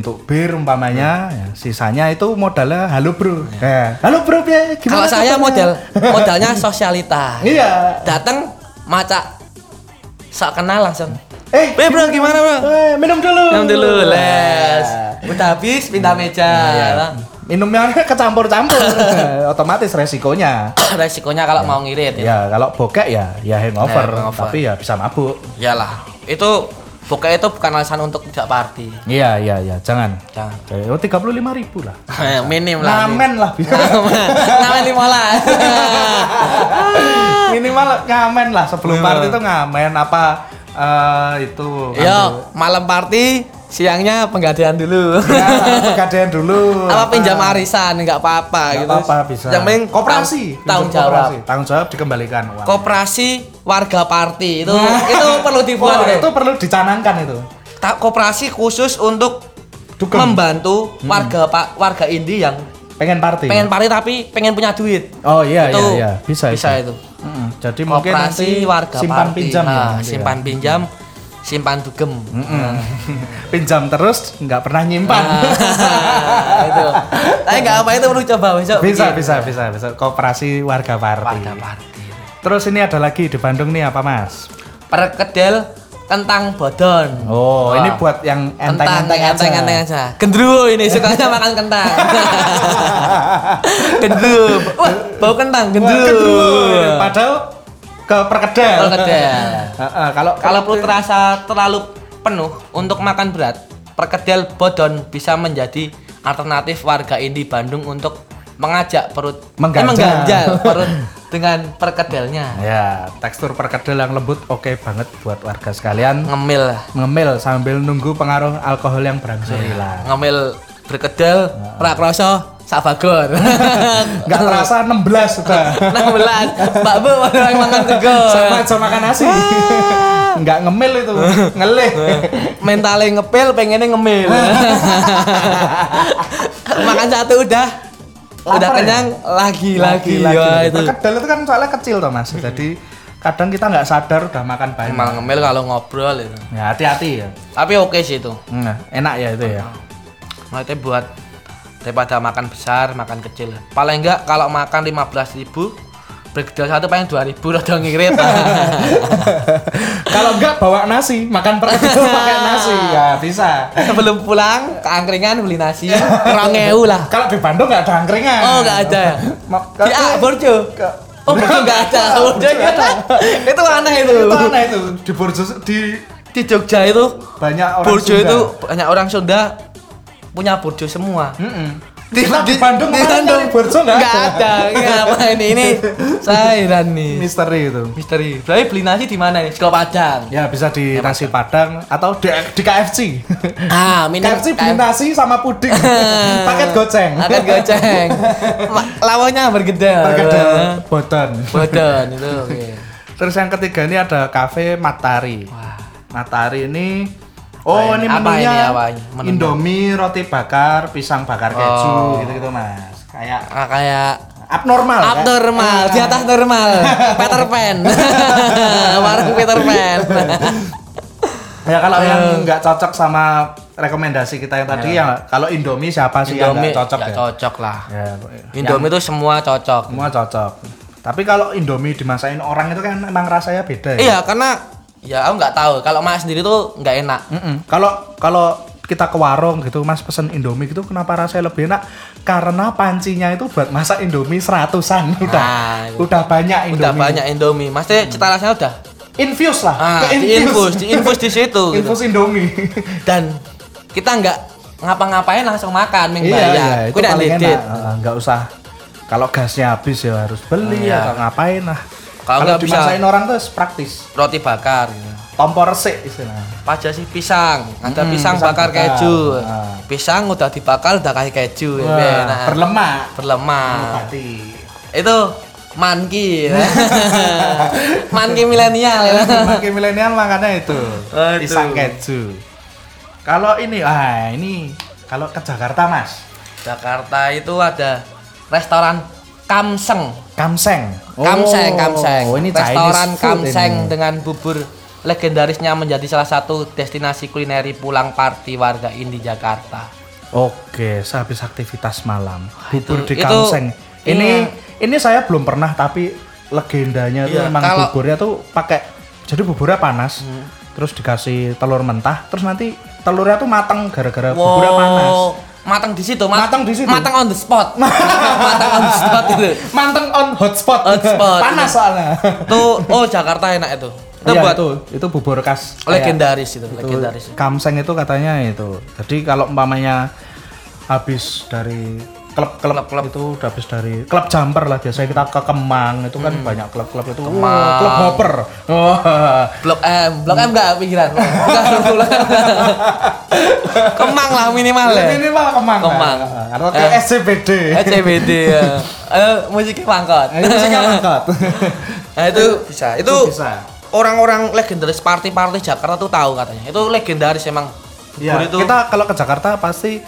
Speaker 1: untuk bir umpamanya ya, sisanya itu modalnya halo bro ya. halo bro ya
Speaker 2: Kalau
Speaker 1: gimana
Speaker 2: saya
Speaker 1: kabarnya?
Speaker 2: model modalnya sosialita.
Speaker 1: iya
Speaker 2: Datang maca sok kenal langsung.
Speaker 1: eh
Speaker 2: Eh, bro, gimana, bro?
Speaker 1: Eh, minum dulu
Speaker 2: Minum dulu, les.
Speaker 1: Nah,
Speaker 2: Iya. Udah habis pindah meja.
Speaker 1: Iya, minumnya kecampur-campur otomatis resikonya
Speaker 2: Resikonya kalau mau ngirit itu.
Speaker 1: ya kalau bokek ya ya hangover,
Speaker 2: Ya, hangover.
Speaker 1: tapi ya bisa mabuk
Speaker 2: Iyalah. Itu pokoknya itu bukan alasan untuk tidak party.
Speaker 1: iya iya iya jangan
Speaker 2: Jangan.
Speaker 1: Eh, oh 35.000 lah
Speaker 2: Minim lah.
Speaker 1: Ngamen lah
Speaker 2: Nama lima lah.
Speaker 1: minimal ngamen
Speaker 2: Iya.
Speaker 1: lah sebelum party itu ngamen apa eh, itu
Speaker 2: Yo, malam party siangnya penggadaian dulu.
Speaker 1: Ya, pegadaian dulu.
Speaker 2: apa pinjam arisan nggak apa-apa
Speaker 1: Nggak
Speaker 2: gitu.
Speaker 1: apa-apa bisa.
Speaker 2: Yang penting
Speaker 1: koperasi,
Speaker 2: tang- tanggung
Speaker 1: Pinjam
Speaker 2: jawab.
Speaker 1: koperasi. Tanggung jawab dikembalikan uang.
Speaker 2: Koperasi warga party itu itu perlu
Speaker 1: Oh,
Speaker 2: dibuat itu.
Speaker 1: itu perlu dicanangkan itu.
Speaker 2: Ta- koperasi khusus untuk
Speaker 1: Dukung.
Speaker 2: membantu warga pak warga indie yang
Speaker 1: Pengen party.
Speaker 2: pengen party tapi pengen punya duit.
Speaker 1: Oh iya
Speaker 2: Itu
Speaker 1: iya iya, bisa
Speaker 2: bisa itu.
Speaker 1: Mm-mm. Jadi mungkin nanti
Speaker 2: Koperasi warga
Speaker 1: simpan
Speaker 2: party.
Speaker 1: pinjam ya,
Speaker 2: Nah,
Speaker 1: nanti ya. Mm.
Speaker 2: simpan pinjam, simpan dugem.
Speaker 1: pinjam terus nggak pernah nyimpan.
Speaker 2: Ah. Nah, itu. Tapi nggak apa itu perlu coba besok.
Speaker 1: bisa,
Speaker 2: bikin.
Speaker 1: bisa, bisa, bisa. Koperasi warga party.
Speaker 2: Iya. Warga party.
Speaker 1: Terus ini ada lagi di Bandung nih apa Mas?
Speaker 2: perkedel kentang bodon.
Speaker 1: Oh,
Speaker 2: Wah.
Speaker 1: ini buat yang
Speaker 2: kentang
Speaker 1: enteng-enteng aja.
Speaker 2: enteng-enteng aja. Gendruwo ini sukanya makan kentang. gendruwo. Wah, bau
Speaker 1: Wah,
Speaker 2: kentang gendruwo.
Speaker 1: gendruwo. Padahal ke perkedel.
Speaker 2: Perkedel.
Speaker 1: Heeh, kalau
Speaker 2: Kalau perut terasa terlalu penuh untuk makan berat, perkedel bodon bisa menjadi alternatif warga Indi Bandung untuk mengajak perut eh,
Speaker 1: Mengganjal.
Speaker 2: mengganjal perut dengan perkedelnya.
Speaker 1: ya tekstur perkedel yang lembut oke banget buat warga sekalian
Speaker 2: Ngemil.
Speaker 1: ngemil sambil nunggu pengaruh alkohol yang berangsur
Speaker 2: Iya.
Speaker 1: hilang.
Speaker 2: Ngemil berkedel, prakroso, sabagor.
Speaker 1: Nah. Nggak terasa 16 sudah.
Speaker 2: 16 Nah, Mbak Bu orang makan tegor
Speaker 1: Sama aja makan nasi. Nggak ngemil itu, ngelih.
Speaker 2: mentalnya ngepil pengennya ngemil makan satu udah udah
Speaker 1: Lapar ya?
Speaker 2: kenyang lagi lagi, Wah, itu
Speaker 1: Perkedel itu kan soalnya kecil toh Mas. Jadi kadang kita nggak sadar udah makan banyak.
Speaker 2: emang ngemil kalau ngobrol itu
Speaker 1: Ya hati-hati ya.
Speaker 2: tapi oke sih itu
Speaker 1: Nah, enak ya itu ya.
Speaker 2: maksudnya buat daripada makan besar makan kecil paling enggak kalau makan 15.000 ribu berkedel satu paling 2.000 ribu rada ngirit
Speaker 1: Kalau nggak bawa nasi, makan perkedel pakai nasi ya bisa.
Speaker 2: sebelum pulang keangkringan beli nasi rongeu lah
Speaker 1: Kalau di Bandung nggak ada angkringan.
Speaker 2: Oh nggak ada ya?
Speaker 1: Ma-
Speaker 2: Di A, Borjo. Oh Borjo nggak ada. Borjo nggak ada. itu aneh itu.
Speaker 1: Itu aneh itu di Borjo di
Speaker 2: Di Jogja itu
Speaker 1: banyak orang
Speaker 2: Borjo
Speaker 1: Sunda.
Speaker 2: itu banyak orang Sunda punya Borjo semua.
Speaker 1: Mm-mm. Hmm. Kita di Bandung kemarin nyari Borjo nggak
Speaker 2: nggak
Speaker 1: ada.
Speaker 2: ada. Kenapa ini ini? Saya heran nih.
Speaker 1: Misteri itu.
Speaker 2: Misteri. Berarti beli nasi di mana nih? Sego Padang.
Speaker 1: Ya bisa di nasi Padang atau di, di KFC.
Speaker 2: Ah, minum
Speaker 1: KFC beli nasi sama puding. Paket goceng.
Speaker 2: Akan goceng. Ma- Lawannya bergedel.
Speaker 1: Perkedel boton.
Speaker 2: Bodan itu. oke.
Speaker 1: Terus yang ketiga ini ada kafe Matari. Matari ini Oh,
Speaker 2: Apa
Speaker 1: ini
Speaker 2: ini? Apa
Speaker 1: menunya
Speaker 2: ini? Apa ini? Menunya. Oh.
Speaker 1: Indomie, roti bakar, pisang bakar keju gitu-gitu, Mas. Kayak
Speaker 2: Ah, kayak
Speaker 1: abnormal. kan?
Speaker 2: abnormal di atas normal Peter Pan warung Peter Pan
Speaker 1: Ya kalau yang
Speaker 2: Eh.
Speaker 1: nggak cocok sama rekomendasi kita yang tadi ya kalau Indomie siapa sih yang nggak cocok
Speaker 2: nggak
Speaker 1: ya?
Speaker 2: cocok lah
Speaker 1: Ya, yang
Speaker 2: Indomie itu semua cocok
Speaker 1: semua cocok. Tapi kalau Indomie dimasakin orang itu kan emang rasanya beda ya.
Speaker 2: iya karena ya aku nggak tahu kalau mas sendiri tuh nggak enak
Speaker 1: Mm-mm. Kalau kalau kita ke warung gitu Mas pesen Indomie gitu kenapa rasanya lebih enak? Karena pancinya itu buat masak Indomie seratusan udah.
Speaker 2: Ah, iya.
Speaker 1: udah banyak Indomie.
Speaker 2: udah banyak Indomie maksudnya cita rasanya udah
Speaker 1: Infuse lah.
Speaker 2: ah,
Speaker 1: ke
Speaker 2: diinfus diinfus di situ gitu.
Speaker 1: Infuse Indomie.
Speaker 2: dan kita nggak ngapa-ngapain langsung makan minggu
Speaker 1: iya, iya,
Speaker 2: bayar
Speaker 1: itu
Speaker 2: aku
Speaker 1: paling
Speaker 2: lihat
Speaker 1: enak. Ah, Nggak usah kalau gasnya habis ya harus beli
Speaker 2: Iya.
Speaker 1: atau ngapain lah.
Speaker 2: Kalau
Speaker 1: Kalau
Speaker 2: nggak bisa-
Speaker 1: dimasakin orang tuh praktis.
Speaker 2: roti bakar gitu.
Speaker 1: Kompor resik istilahnya.
Speaker 2: Paja sih pisang, ada
Speaker 1: Mm-mm, Hmm,
Speaker 2: pisang,
Speaker 1: pisang
Speaker 2: bakar,
Speaker 1: bakar.
Speaker 2: keju.
Speaker 1: Ah.
Speaker 2: Pisang udah dibakar udah kayak keju, ya,
Speaker 1: Wah,
Speaker 2: enak. Ah.
Speaker 1: berlemak.
Speaker 2: berlemak.
Speaker 1: Berlemak.
Speaker 2: Itu manki. manki milenial ya.
Speaker 1: Makin milenial makanya itu
Speaker 2: Aduh.
Speaker 1: pisang keju. Kalau ini, ah ini kalau ke Jakarta mas,
Speaker 2: Jakarta itu ada restoran Kamseng.
Speaker 1: Kamseng.
Speaker 2: Kamseng, Kamseng.
Speaker 1: Oh, ini
Speaker 2: restoran
Speaker 1: Chinese food
Speaker 2: Kamseng
Speaker 1: ini.
Speaker 2: dengan bubur legendarisnya menjadi salah satu destinasi kulineri pulang party warga Indi Jakarta.
Speaker 1: Oke, sehabis aktivitas malam, bubur
Speaker 2: itu-
Speaker 1: di
Speaker 2: itu-
Speaker 1: Kamseng. ini
Speaker 2: iya.
Speaker 1: ini saya belum pernah tapi legendanya tuh
Speaker 2: Iya, Hmm.
Speaker 1: memang
Speaker 2: kalau-
Speaker 1: buburnya tuh pakai jadi buburnya panas. Terus dikasih telur mentah, terus nanti telurnya tuh matang gara-gara buburnya panas.
Speaker 2: Wow, matang di situ, mat-
Speaker 1: Matang di situ.
Speaker 2: matang on the spot, matang on the spot itu.
Speaker 1: Manteng on hotspot.
Speaker 2: Hotspot.
Speaker 1: panas soalnya.
Speaker 2: Tuh, oh Jakarta enak itu. Itu
Speaker 1: Iya,
Speaker 2: buat
Speaker 1: itu Iya. itu bubur khas kayak
Speaker 2: legendaris itu,
Speaker 1: itu.
Speaker 2: legendaris.
Speaker 1: Kamseng itu katanya itu. Jadi kalau umpamanya habis dari klub-klub itu udah habis dari klub jumper lah biasanya kita ke Kemang itu
Speaker 2: Hmm.
Speaker 1: kan banyak klub-klub itu Wah, klub hopper Oh. Wah.
Speaker 2: Blok M, Blok M enggak pikiran. Bukan, Blok M. Kemang lah minimal ya.
Speaker 1: ini mah Kemang
Speaker 2: Kemang.
Speaker 1: Nah, atau ke
Speaker 2: Eh.
Speaker 1: SCBD
Speaker 2: CBD ya. Eh, musiknya pangkot.
Speaker 1: Nah, itu sih kan lengkap.
Speaker 2: Nah itu bisa. Itu
Speaker 1: Itu bisa.
Speaker 2: orang-orang legendaris party-party Jakarta tuh tahu katanya. Itu legendaris emang.
Speaker 1: Iya,
Speaker 2: Bubur itu
Speaker 1: kita kalau ke Jakarta pasti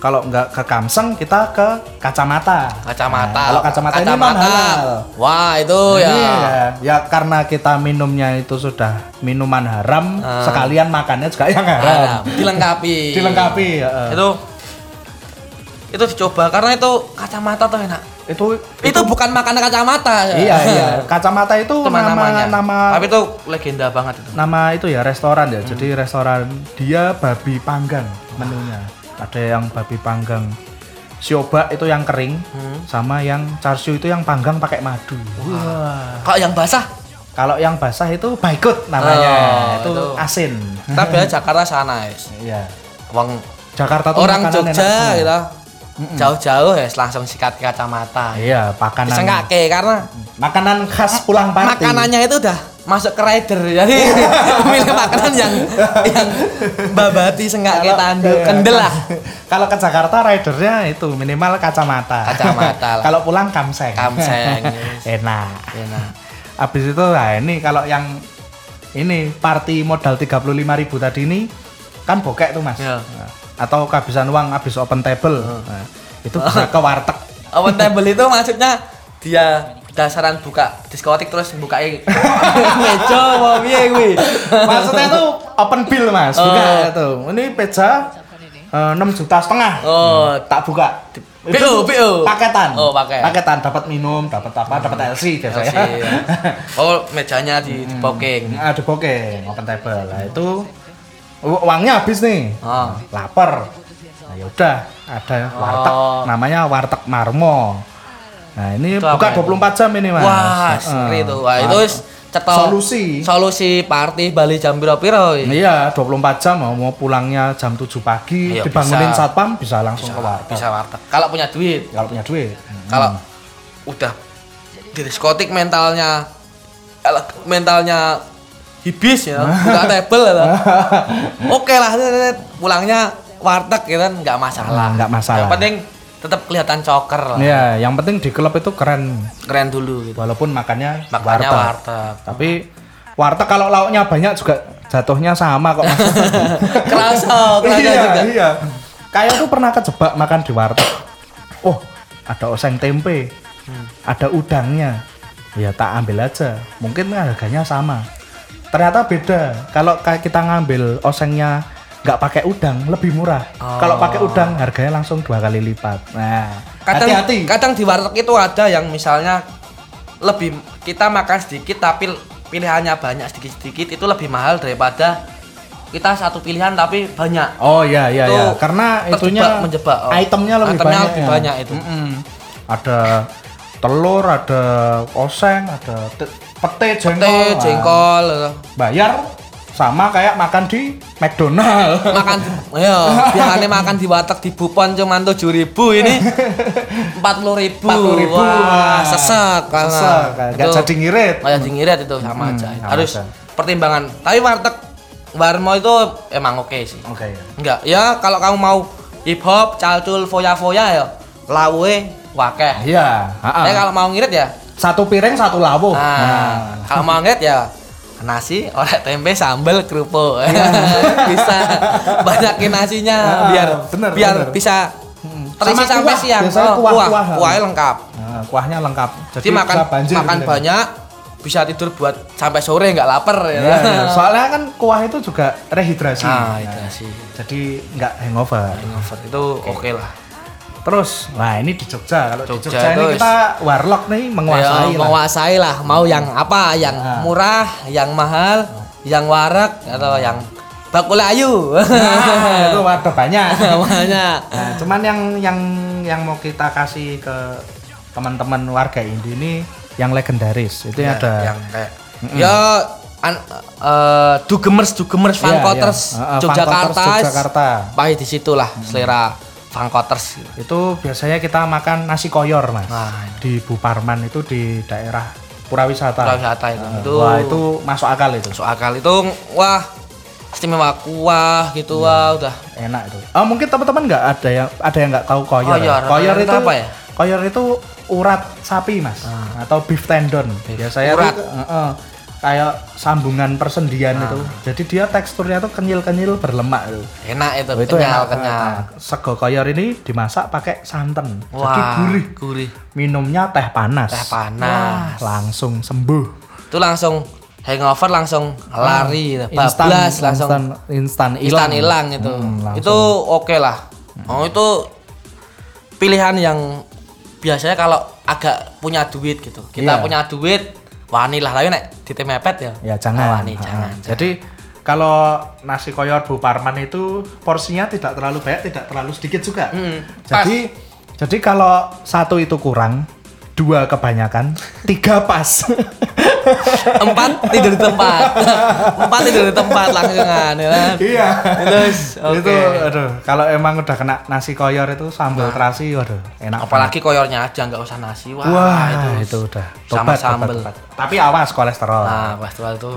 Speaker 1: kalau nggak ke Kamseng kita ke Kacamata.
Speaker 2: kacamata.
Speaker 1: Nah, kalau kacamata, ini memang halal.
Speaker 2: Wah, itu ya.
Speaker 1: Iya. Ya karena kita minumnya itu sudah minuman haram,
Speaker 2: Ah.
Speaker 1: sekalian makannya juga yang
Speaker 2: Haram.
Speaker 1: haram.
Speaker 2: Dilengkapi.
Speaker 1: Dilengkapi. eh, heeh.
Speaker 2: Itu itu dicoba karena itu kacamata tuh enak.
Speaker 1: itu,
Speaker 2: Itu, bukan makanan kacamata.
Speaker 1: Iya iya. Kacamata itu
Speaker 2: Itu
Speaker 1: nama
Speaker 2: namanya.
Speaker 1: nama
Speaker 2: Tapi Hmm. itu legenda banget itu.
Speaker 1: nama itu ya restoran ya. Jadi restoran dia babi panggang menunya. Ada yang babi panggang siobak itu yang kering,
Speaker 2: Hmm.
Speaker 1: sama yang charsiu itu yang panggang pakai madu. Wah.
Speaker 2: Kalau yang basah,
Speaker 1: Kalau yang basah itu baikut namanya.
Speaker 2: Oh,
Speaker 1: itu,
Speaker 2: itu.
Speaker 1: asin.
Speaker 2: kita bela Jakarta sana, guys.
Speaker 1: Iya.
Speaker 2: Wong
Speaker 1: Jakarta tuh
Speaker 2: orang
Speaker 1: makanan
Speaker 2: Jogja
Speaker 1: enak semua.
Speaker 2: gitu. Jauh-jauh ya langsung sikat kacamata.
Speaker 1: Iya, makanan.
Speaker 2: Sengake karena
Speaker 1: Makanan khas pulang party.
Speaker 2: makanannya itu udah masuk ke rider jadi milih makanan yang yang babati sengak
Speaker 1: Kalau-
Speaker 2: kita tandu
Speaker 1: iya.
Speaker 2: kendel lah
Speaker 1: Kalau ke Jakarta ridernya itu minimal kacamata.
Speaker 2: Kacamata lah.
Speaker 1: kalau pulang kamseng.
Speaker 2: Kamseng.
Speaker 1: Enak.
Speaker 2: enak
Speaker 1: Habis itu nah ini kalau yang ini party modal 35.000 tadi ini kan bokek tuh, Mas.
Speaker 2: Iya.
Speaker 1: Nah, Atau kehabisan uang habis open table. Nah, itu bisa ke warteg.
Speaker 2: open table itu maksudnya dia dasaran buka diskotik terus buka meja mau piye kuwi
Speaker 1: Maksudnya itu open bill mas, buka
Speaker 2: Oh.
Speaker 1: itu. Ini pizza eh, enam juta setengah,
Speaker 2: oh
Speaker 1: tak buka.
Speaker 2: PO, PO.
Speaker 1: Paketan.
Speaker 2: Oh, Hmm. paket.
Speaker 1: Paketan, dapat minum, dapat apa, dapat LC biasanya.
Speaker 2: sih. oh mejanya di di booking
Speaker 1: Ada bokeh, open table. Nah, itu u- uangnya habis nih,
Speaker 2: oh
Speaker 1: lapar. Nah, yaudah, ada warteg,
Speaker 2: Oh.
Speaker 1: namanya warteg Marmo. Nah ini
Speaker 2: Itu
Speaker 1: buka
Speaker 2: apa itu?
Speaker 1: 24 jam ini mas.
Speaker 2: wah
Speaker 1: Heeh.
Speaker 2: seri itu wah itu wis cetok
Speaker 1: Solusi.
Speaker 2: solusi party Bali jam piro-piro iki.
Speaker 1: Iya, 24 jam mau mau pulangnya jam 7 pagi,
Speaker 2: Iya,
Speaker 1: dibangunin
Speaker 2: bisa.
Speaker 1: satpam bisa langsung ke warteg.
Speaker 2: bisa warteg kalau punya duit
Speaker 1: Kalau punya duit.
Speaker 2: kalau udah di diskotik mentalnya ele- mentalnya hibis ya nggak table ya
Speaker 1: Hmm.
Speaker 2: oke lah pulangnya warteg ya kan nggak masalah
Speaker 1: Hmm, nggak masalah.
Speaker 2: yang penting tetap kelihatan coker lah
Speaker 1: Iya, yang penting di klub itu keren
Speaker 2: keren dulu gitu
Speaker 1: walaupun makannya
Speaker 2: makanya
Speaker 1: warteg.
Speaker 2: warteg
Speaker 1: Tapi warteg kalau lauknya banyak juga jatuhnya sama kok. Mas.
Speaker 2: kerasa kerasa
Speaker 1: iya,
Speaker 2: Oh, juga
Speaker 1: iya. Kayak tuh pernah kejebak makan di warteg. Oh, ada oseng tempe.
Speaker 2: Hmm.
Speaker 1: Ada udangnya. Ya tak ambil aja. Mungkin harganya sama. Ternyata beda. Kalau kayak kita ngambil osengnya nggak pakai udang lebih murah. Kalau pakai udang harganya langsung dua kali lipat. Nah,
Speaker 2: Oh. kadang
Speaker 1: hati-hati.
Speaker 2: kadang di warteg itu ada yang misalnya lebih kita makan sedikit tapi pilihannya banyak sedikit-sedikit itu lebih mahal daripada kita satu pilihan tapi banyak
Speaker 1: Oh iya iya
Speaker 2: Itu
Speaker 1: iya. Karena
Speaker 2: terjebak,
Speaker 1: itunya
Speaker 2: menjebak, oh.
Speaker 1: itemnya lebih
Speaker 2: Itemnya
Speaker 1: banyak.
Speaker 2: lebih
Speaker 1: ya.
Speaker 2: banyak itu.
Speaker 1: Mm-mm. Ada telur, ada oseng, ada te- pete, jengkol.
Speaker 2: teh
Speaker 1: Wah.
Speaker 2: jengkol
Speaker 1: Bayar sama kayak makan di McDonald.
Speaker 2: makan ya biasanya makan di warteg di Bupon cuman tujuh ribu ini empat puluh ribu
Speaker 1: 40.000.
Speaker 2: wah sesek karena
Speaker 1: Sesek, nggak
Speaker 2: Itu-
Speaker 1: jadi ngirit. Hmm,
Speaker 2: nggak jadi ngirit itu sama aja
Speaker 1: sama
Speaker 2: harus
Speaker 1: aja.
Speaker 2: pertimbangan tapi warteg warmo itu emang oke sih
Speaker 1: Oke. ya.
Speaker 2: Enggak, ya kalau kamu mau hip hop, calcul, foya-foya ya lawe wakeh.
Speaker 1: Iya, ha-ha.
Speaker 2: Tapi kalau mau ngirit ya,
Speaker 1: satu piring satu labu.
Speaker 2: nah, kalau mau ngirit ya nasi, orek tempe, sambel, kerupuk. bisa banyakin nasinya
Speaker 1: Ah,
Speaker 2: biar
Speaker 1: bener,
Speaker 2: biar
Speaker 1: bener. Hmm.
Speaker 2: bisa terisi
Speaker 1: Sama
Speaker 2: sampai
Speaker 1: kuah,
Speaker 2: siang. Oh,
Speaker 1: biasanya kuah, kuah.
Speaker 2: kuahnya lengkap.
Speaker 1: Nah, kuahnya lengkap.
Speaker 2: Jadi, makan
Speaker 1: bisa banjir
Speaker 2: makan
Speaker 1: gitu.
Speaker 2: banyak bisa tidur buat sampai sore nggak lapar ya.
Speaker 1: Iya, iya. Soalnya kan kuah itu juga rehidrasi. Nah,
Speaker 2: Nah, itu sih.
Speaker 1: Jadi nggak hangover.
Speaker 2: Hangover Itu oke lah.
Speaker 1: Terus, nah ini di Jogja. Kalau di
Speaker 2: Jogja
Speaker 1: Jogja ini
Speaker 2: terus.
Speaker 1: kita warlock nih menguasai
Speaker 2: Ya,
Speaker 1: lah. Hmm.
Speaker 2: menguasai lah. Mau yang apa? Yang
Speaker 1: Nah.
Speaker 2: murah, yang mahal,
Speaker 1: Hmm.
Speaker 2: yang warak atau yang bakul ayu.
Speaker 1: Nah, itu wadah banyak.
Speaker 2: Namanya.
Speaker 1: Nah, cuman yang yang yang mau kita kasih ke teman-teman warga Indi ini yang legendaris. Itu
Speaker 2: Ya,
Speaker 1: ada
Speaker 2: yang kayak ya an- eh, dugemers dugemers
Speaker 1: Iya,
Speaker 2: fancoters
Speaker 1: iya. Eh, eh,
Speaker 2: Yogyakarta.
Speaker 1: Funcotters Yogyakarta. Hmm.
Speaker 2: Pahit di situlah selera Fangkoters gitu.
Speaker 1: Itu biasanya kita makan nasi koyor, Mas.
Speaker 2: Nah,
Speaker 1: Di Buparman itu di daerah Purawisata. Nah,
Speaker 2: pariwisata itu. itu
Speaker 1: Wah, itu masuk akal itu.
Speaker 2: masuk akal itu wah istimewa kuah gitu
Speaker 1: Iya.
Speaker 2: wah udah
Speaker 1: Enak itu. Ah, mungkin teman-teman nggak ada yang ada yang nggak tahu koyor. ya?
Speaker 2: Koyor.
Speaker 1: Koyor
Speaker 2: Koyor itu
Speaker 1: itu
Speaker 2: apa ya? Ah.
Speaker 1: Koyor itu urat sapi, Mas. Atau beef tendon. Biasanya
Speaker 2: Urat.
Speaker 1: tuh, eh, eh, kayak sambungan persendian itu.
Speaker 2: Ah.
Speaker 1: Jadi dia teksturnya tuh kenyil-kenyil berlemak itu.
Speaker 2: enak itu,
Speaker 1: Oh, Itu
Speaker 2: kenyal
Speaker 1: enak.
Speaker 2: kenyal.
Speaker 1: Nah, Sego koyor ini dimasak pakai santan. Jadi
Speaker 2: Wah,
Speaker 1: gurih.
Speaker 2: gurih.
Speaker 1: Minumnya teh panas.
Speaker 2: Teh panas.
Speaker 1: Wah, langsung sembuh.
Speaker 2: Itu langsung hangover langsung lari, gitu. bablas langsung
Speaker 1: Ah, instan instan
Speaker 2: instan hilang itu.
Speaker 1: Hmm, langsung. Hmm.
Speaker 2: itu oke lah. Oh itu pilihan yang biasanya kalau agak punya duit gitu.
Speaker 1: Iya.
Speaker 2: Kita punya duit wani lah tapi nek titik mepet ya.
Speaker 1: ya jangan.
Speaker 2: Wani
Speaker 1: Ah,
Speaker 2: jangan.
Speaker 1: Jadi kalau nasi koyor Bu Parman itu porsinya tidak terlalu banyak, tidak terlalu sedikit juga.
Speaker 2: Mm,
Speaker 1: Jadi jadi kalau satu itu kurang, dua kebanyakan, tiga pas.
Speaker 2: Empat tidur di tempat. Empat tidur di tempat langsungan ya kan.
Speaker 1: iya.
Speaker 2: Terus oke. Nah.
Speaker 1: Itu aduh, kalau emang udah kena nasi koyor itu sambal terasi waduh, enak.
Speaker 2: Apalagi koyornya aja nggak usah nasi. Wah,
Speaker 1: banget. wah, itu,
Speaker 2: itu.
Speaker 1: udah
Speaker 2: Sama
Speaker 1: tobat,
Speaker 2: sambel.
Speaker 1: tobat, tobat. Tapi awas kolesterol.
Speaker 2: Nah, festival itu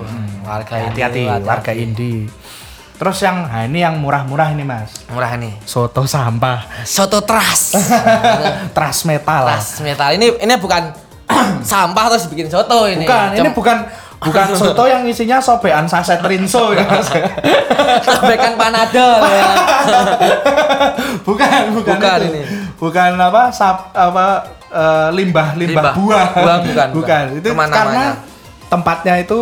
Speaker 2: warga ini
Speaker 1: hati-hati warga indie terus yang nah ini yang murah-murah ini mas
Speaker 2: murah nih.
Speaker 1: soto sampah
Speaker 2: Soto teras.
Speaker 1: trash metal
Speaker 2: teras metal ini ini bukan sampah terus bikin soto ini.
Speaker 1: bukan ini
Speaker 2: Cem-
Speaker 1: bukan bukan soto yang isinya sobean saset rinso ya, Mas.
Speaker 2: Sobekan panadol ya.
Speaker 1: bukan bukan
Speaker 2: Bukan
Speaker 1: itu.
Speaker 2: ini.
Speaker 1: bukan apa sap- apa eh, limbah, limbah
Speaker 2: Limbah.
Speaker 1: buah
Speaker 2: Buah bukan, bukan.
Speaker 1: itu
Speaker 2: Kemana-mana.
Speaker 1: karena tempatnya itu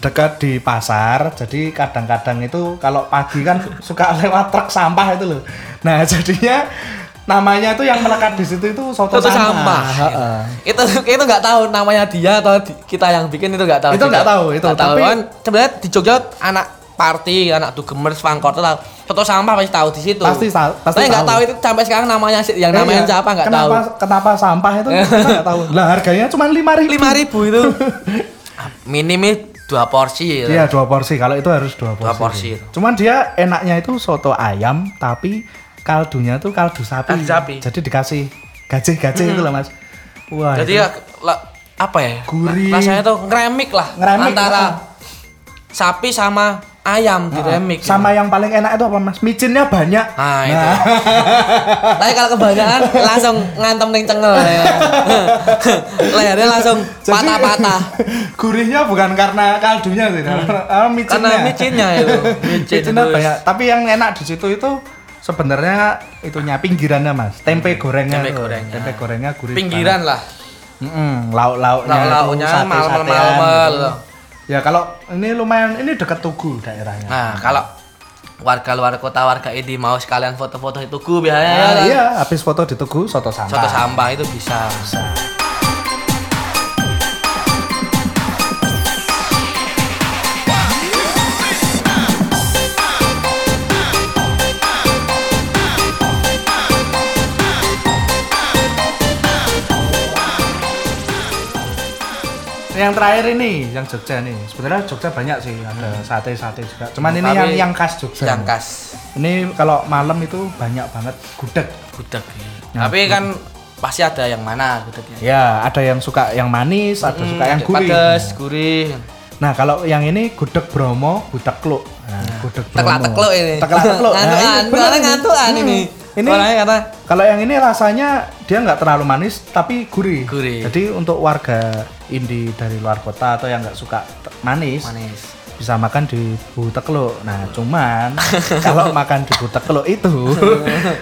Speaker 1: dekat di pasar jadi kadang-kadang itu kalau pagi kan suka lewat truk sampah itu loh nah jadinya namanya itu yang melekat di situ itu soto,
Speaker 2: Soto sampah.
Speaker 1: Heeh.
Speaker 2: Itu itu nggak tahu namanya dia atau di- kita yang bikin itu nggak tahu.
Speaker 1: Itu
Speaker 2: juga.
Speaker 1: nggak tahu, itu.
Speaker 2: Nggak tahu.
Speaker 1: Tapi-
Speaker 2: Kan sebenarnya di Jogja anak party, anak dugemers, fangkor itu tahu. Soto sampah pasti tahu di situ.
Speaker 1: Pasti tahu- pasti
Speaker 2: Tapi nggak
Speaker 1: tahu.
Speaker 2: tahu itu sampai sekarang namanya si- yang namanya
Speaker 1: Iya.
Speaker 2: siapa nggak tahu.
Speaker 1: kenapa, kenapa sampah itu kita nggak tahu lah harganya cuma lima ribu
Speaker 2: lima ribu itu minim dua porsi
Speaker 1: Iya dua porsi. Kalau itu harus dua porsi.
Speaker 2: Dua porsi itu.
Speaker 1: Cuman dia enaknya itu soto ayam tapi kaldunya tuh kaldu sapi.
Speaker 2: Kaldu sapi.
Speaker 1: Jadi dikasih gajih-gajih itu loh mas. Wah. Nah,
Speaker 2: Hmm. jadi
Speaker 1: itu
Speaker 2: ya, la- apa ya
Speaker 1: Gurih.
Speaker 2: rasanya tuh ngeremik lah
Speaker 1: Ngeremik,
Speaker 2: antara
Speaker 1: ah.
Speaker 2: sapi sama ayam diremik gitu.
Speaker 1: sama yang paling enak itu apa mas? Micinnya banyak.
Speaker 2: nah itu tapi kalau kebanyakan langsung ngantem ning cengel ya. lehernya langsung
Speaker 1: Jadi-
Speaker 2: patah-patah Hmm.
Speaker 1: gurihnya bukan karena kaldunya sih, karena micinnya.
Speaker 2: karena micinnya itu micin
Speaker 1: Micinnya
Speaker 2: terus.
Speaker 1: banyak. ya? Tapi yang enak di situ itu sebenarnya itunya pinggirannya mas, tempe gorengnya.
Speaker 2: Tempe
Speaker 1: tuh.
Speaker 2: gorengnya.
Speaker 1: Tempe gorengnya gurih.
Speaker 2: pinggiran lah
Speaker 1: Mm-mm, lauk-lauknya itu,
Speaker 2: Lauk-lauknya,
Speaker 1: sate-satean
Speaker 2: malmel-malmel.
Speaker 1: gitu. Ya kalau ini lumayan ini dekat Tugu daerahnya.
Speaker 2: nah kalau warga luar kota warga ini mau sekalian foto-foto itu gue biasanya ya
Speaker 1: Nah,
Speaker 2: kan?
Speaker 1: iya, Nah. habis foto di Tugu soto sampah.
Speaker 2: Soto sampah itu bisa.
Speaker 1: Yang terakhir ini yang Jogja nih. Sebenarnya Jogja banyak sih ada sate-sate juga. Cuman ini
Speaker 2: Tapi-
Speaker 1: yang yang khas Jogja.
Speaker 2: Yang khas
Speaker 1: Ini kalau malam itu banyak banget gudeg.
Speaker 2: gudeg. Tapi kan pasti ada yang mana gudegnya.
Speaker 1: Ya, ada yang suka yang manis, ada suka yang gurih.
Speaker 2: Pedes, Hmm, gurih.
Speaker 1: Nah, kalau yang ini gudeg Bromo, gudeg kluk. Nah, gudeg Bromo.
Speaker 2: Teklak-tekluk ini.
Speaker 1: Teklak-tekluk. Nah, ini
Speaker 2: Ngantukan,
Speaker 1: bener
Speaker 2: soalnya
Speaker 1: ini. Hmm.
Speaker 2: ngantukan ah, ini.
Speaker 1: Ini
Speaker 2: Soalnya kata
Speaker 1: Kalau yang ini rasanya dia nggak terlalu manis tapi gurih.
Speaker 2: Gurih.
Speaker 1: Jadi untuk warga indie dari luar kota atau yang nggak suka te- manis,
Speaker 2: manis.
Speaker 1: bisa makan di Buteklo. Nah, cuman kalau makan di Buteklo itu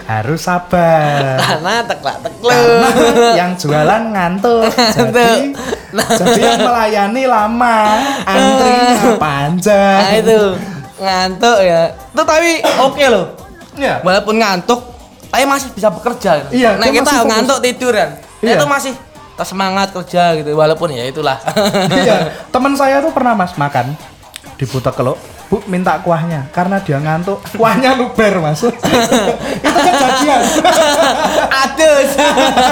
Speaker 1: harus sabar.
Speaker 2: Karena teklak-tekluk.
Speaker 1: Karena yang jualan ngantuk. Jadi,
Speaker 2: Nah.
Speaker 1: jadi yang melayani lama, antrinya panjang.
Speaker 2: Nah Ah. itu ngantuk ya. Itu tapi oke loh.
Speaker 1: Ya.
Speaker 2: Walaupun ngantuk, tapi masih bisa bekerja. gitu.
Speaker 1: Iya,
Speaker 2: nah
Speaker 1: dia
Speaker 2: kita
Speaker 1: masih fokus.
Speaker 2: ngantuk tiduran.
Speaker 1: Iya.
Speaker 2: Itu masih tersemangat kerja gitu. Walaupun ya itulah.
Speaker 1: iya teman saya tuh pernah mas makan di butek kelok bu minta kuahnya karena dia ngantuk kuahnya luber mas itu kan kejadian
Speaker 2: Aduh.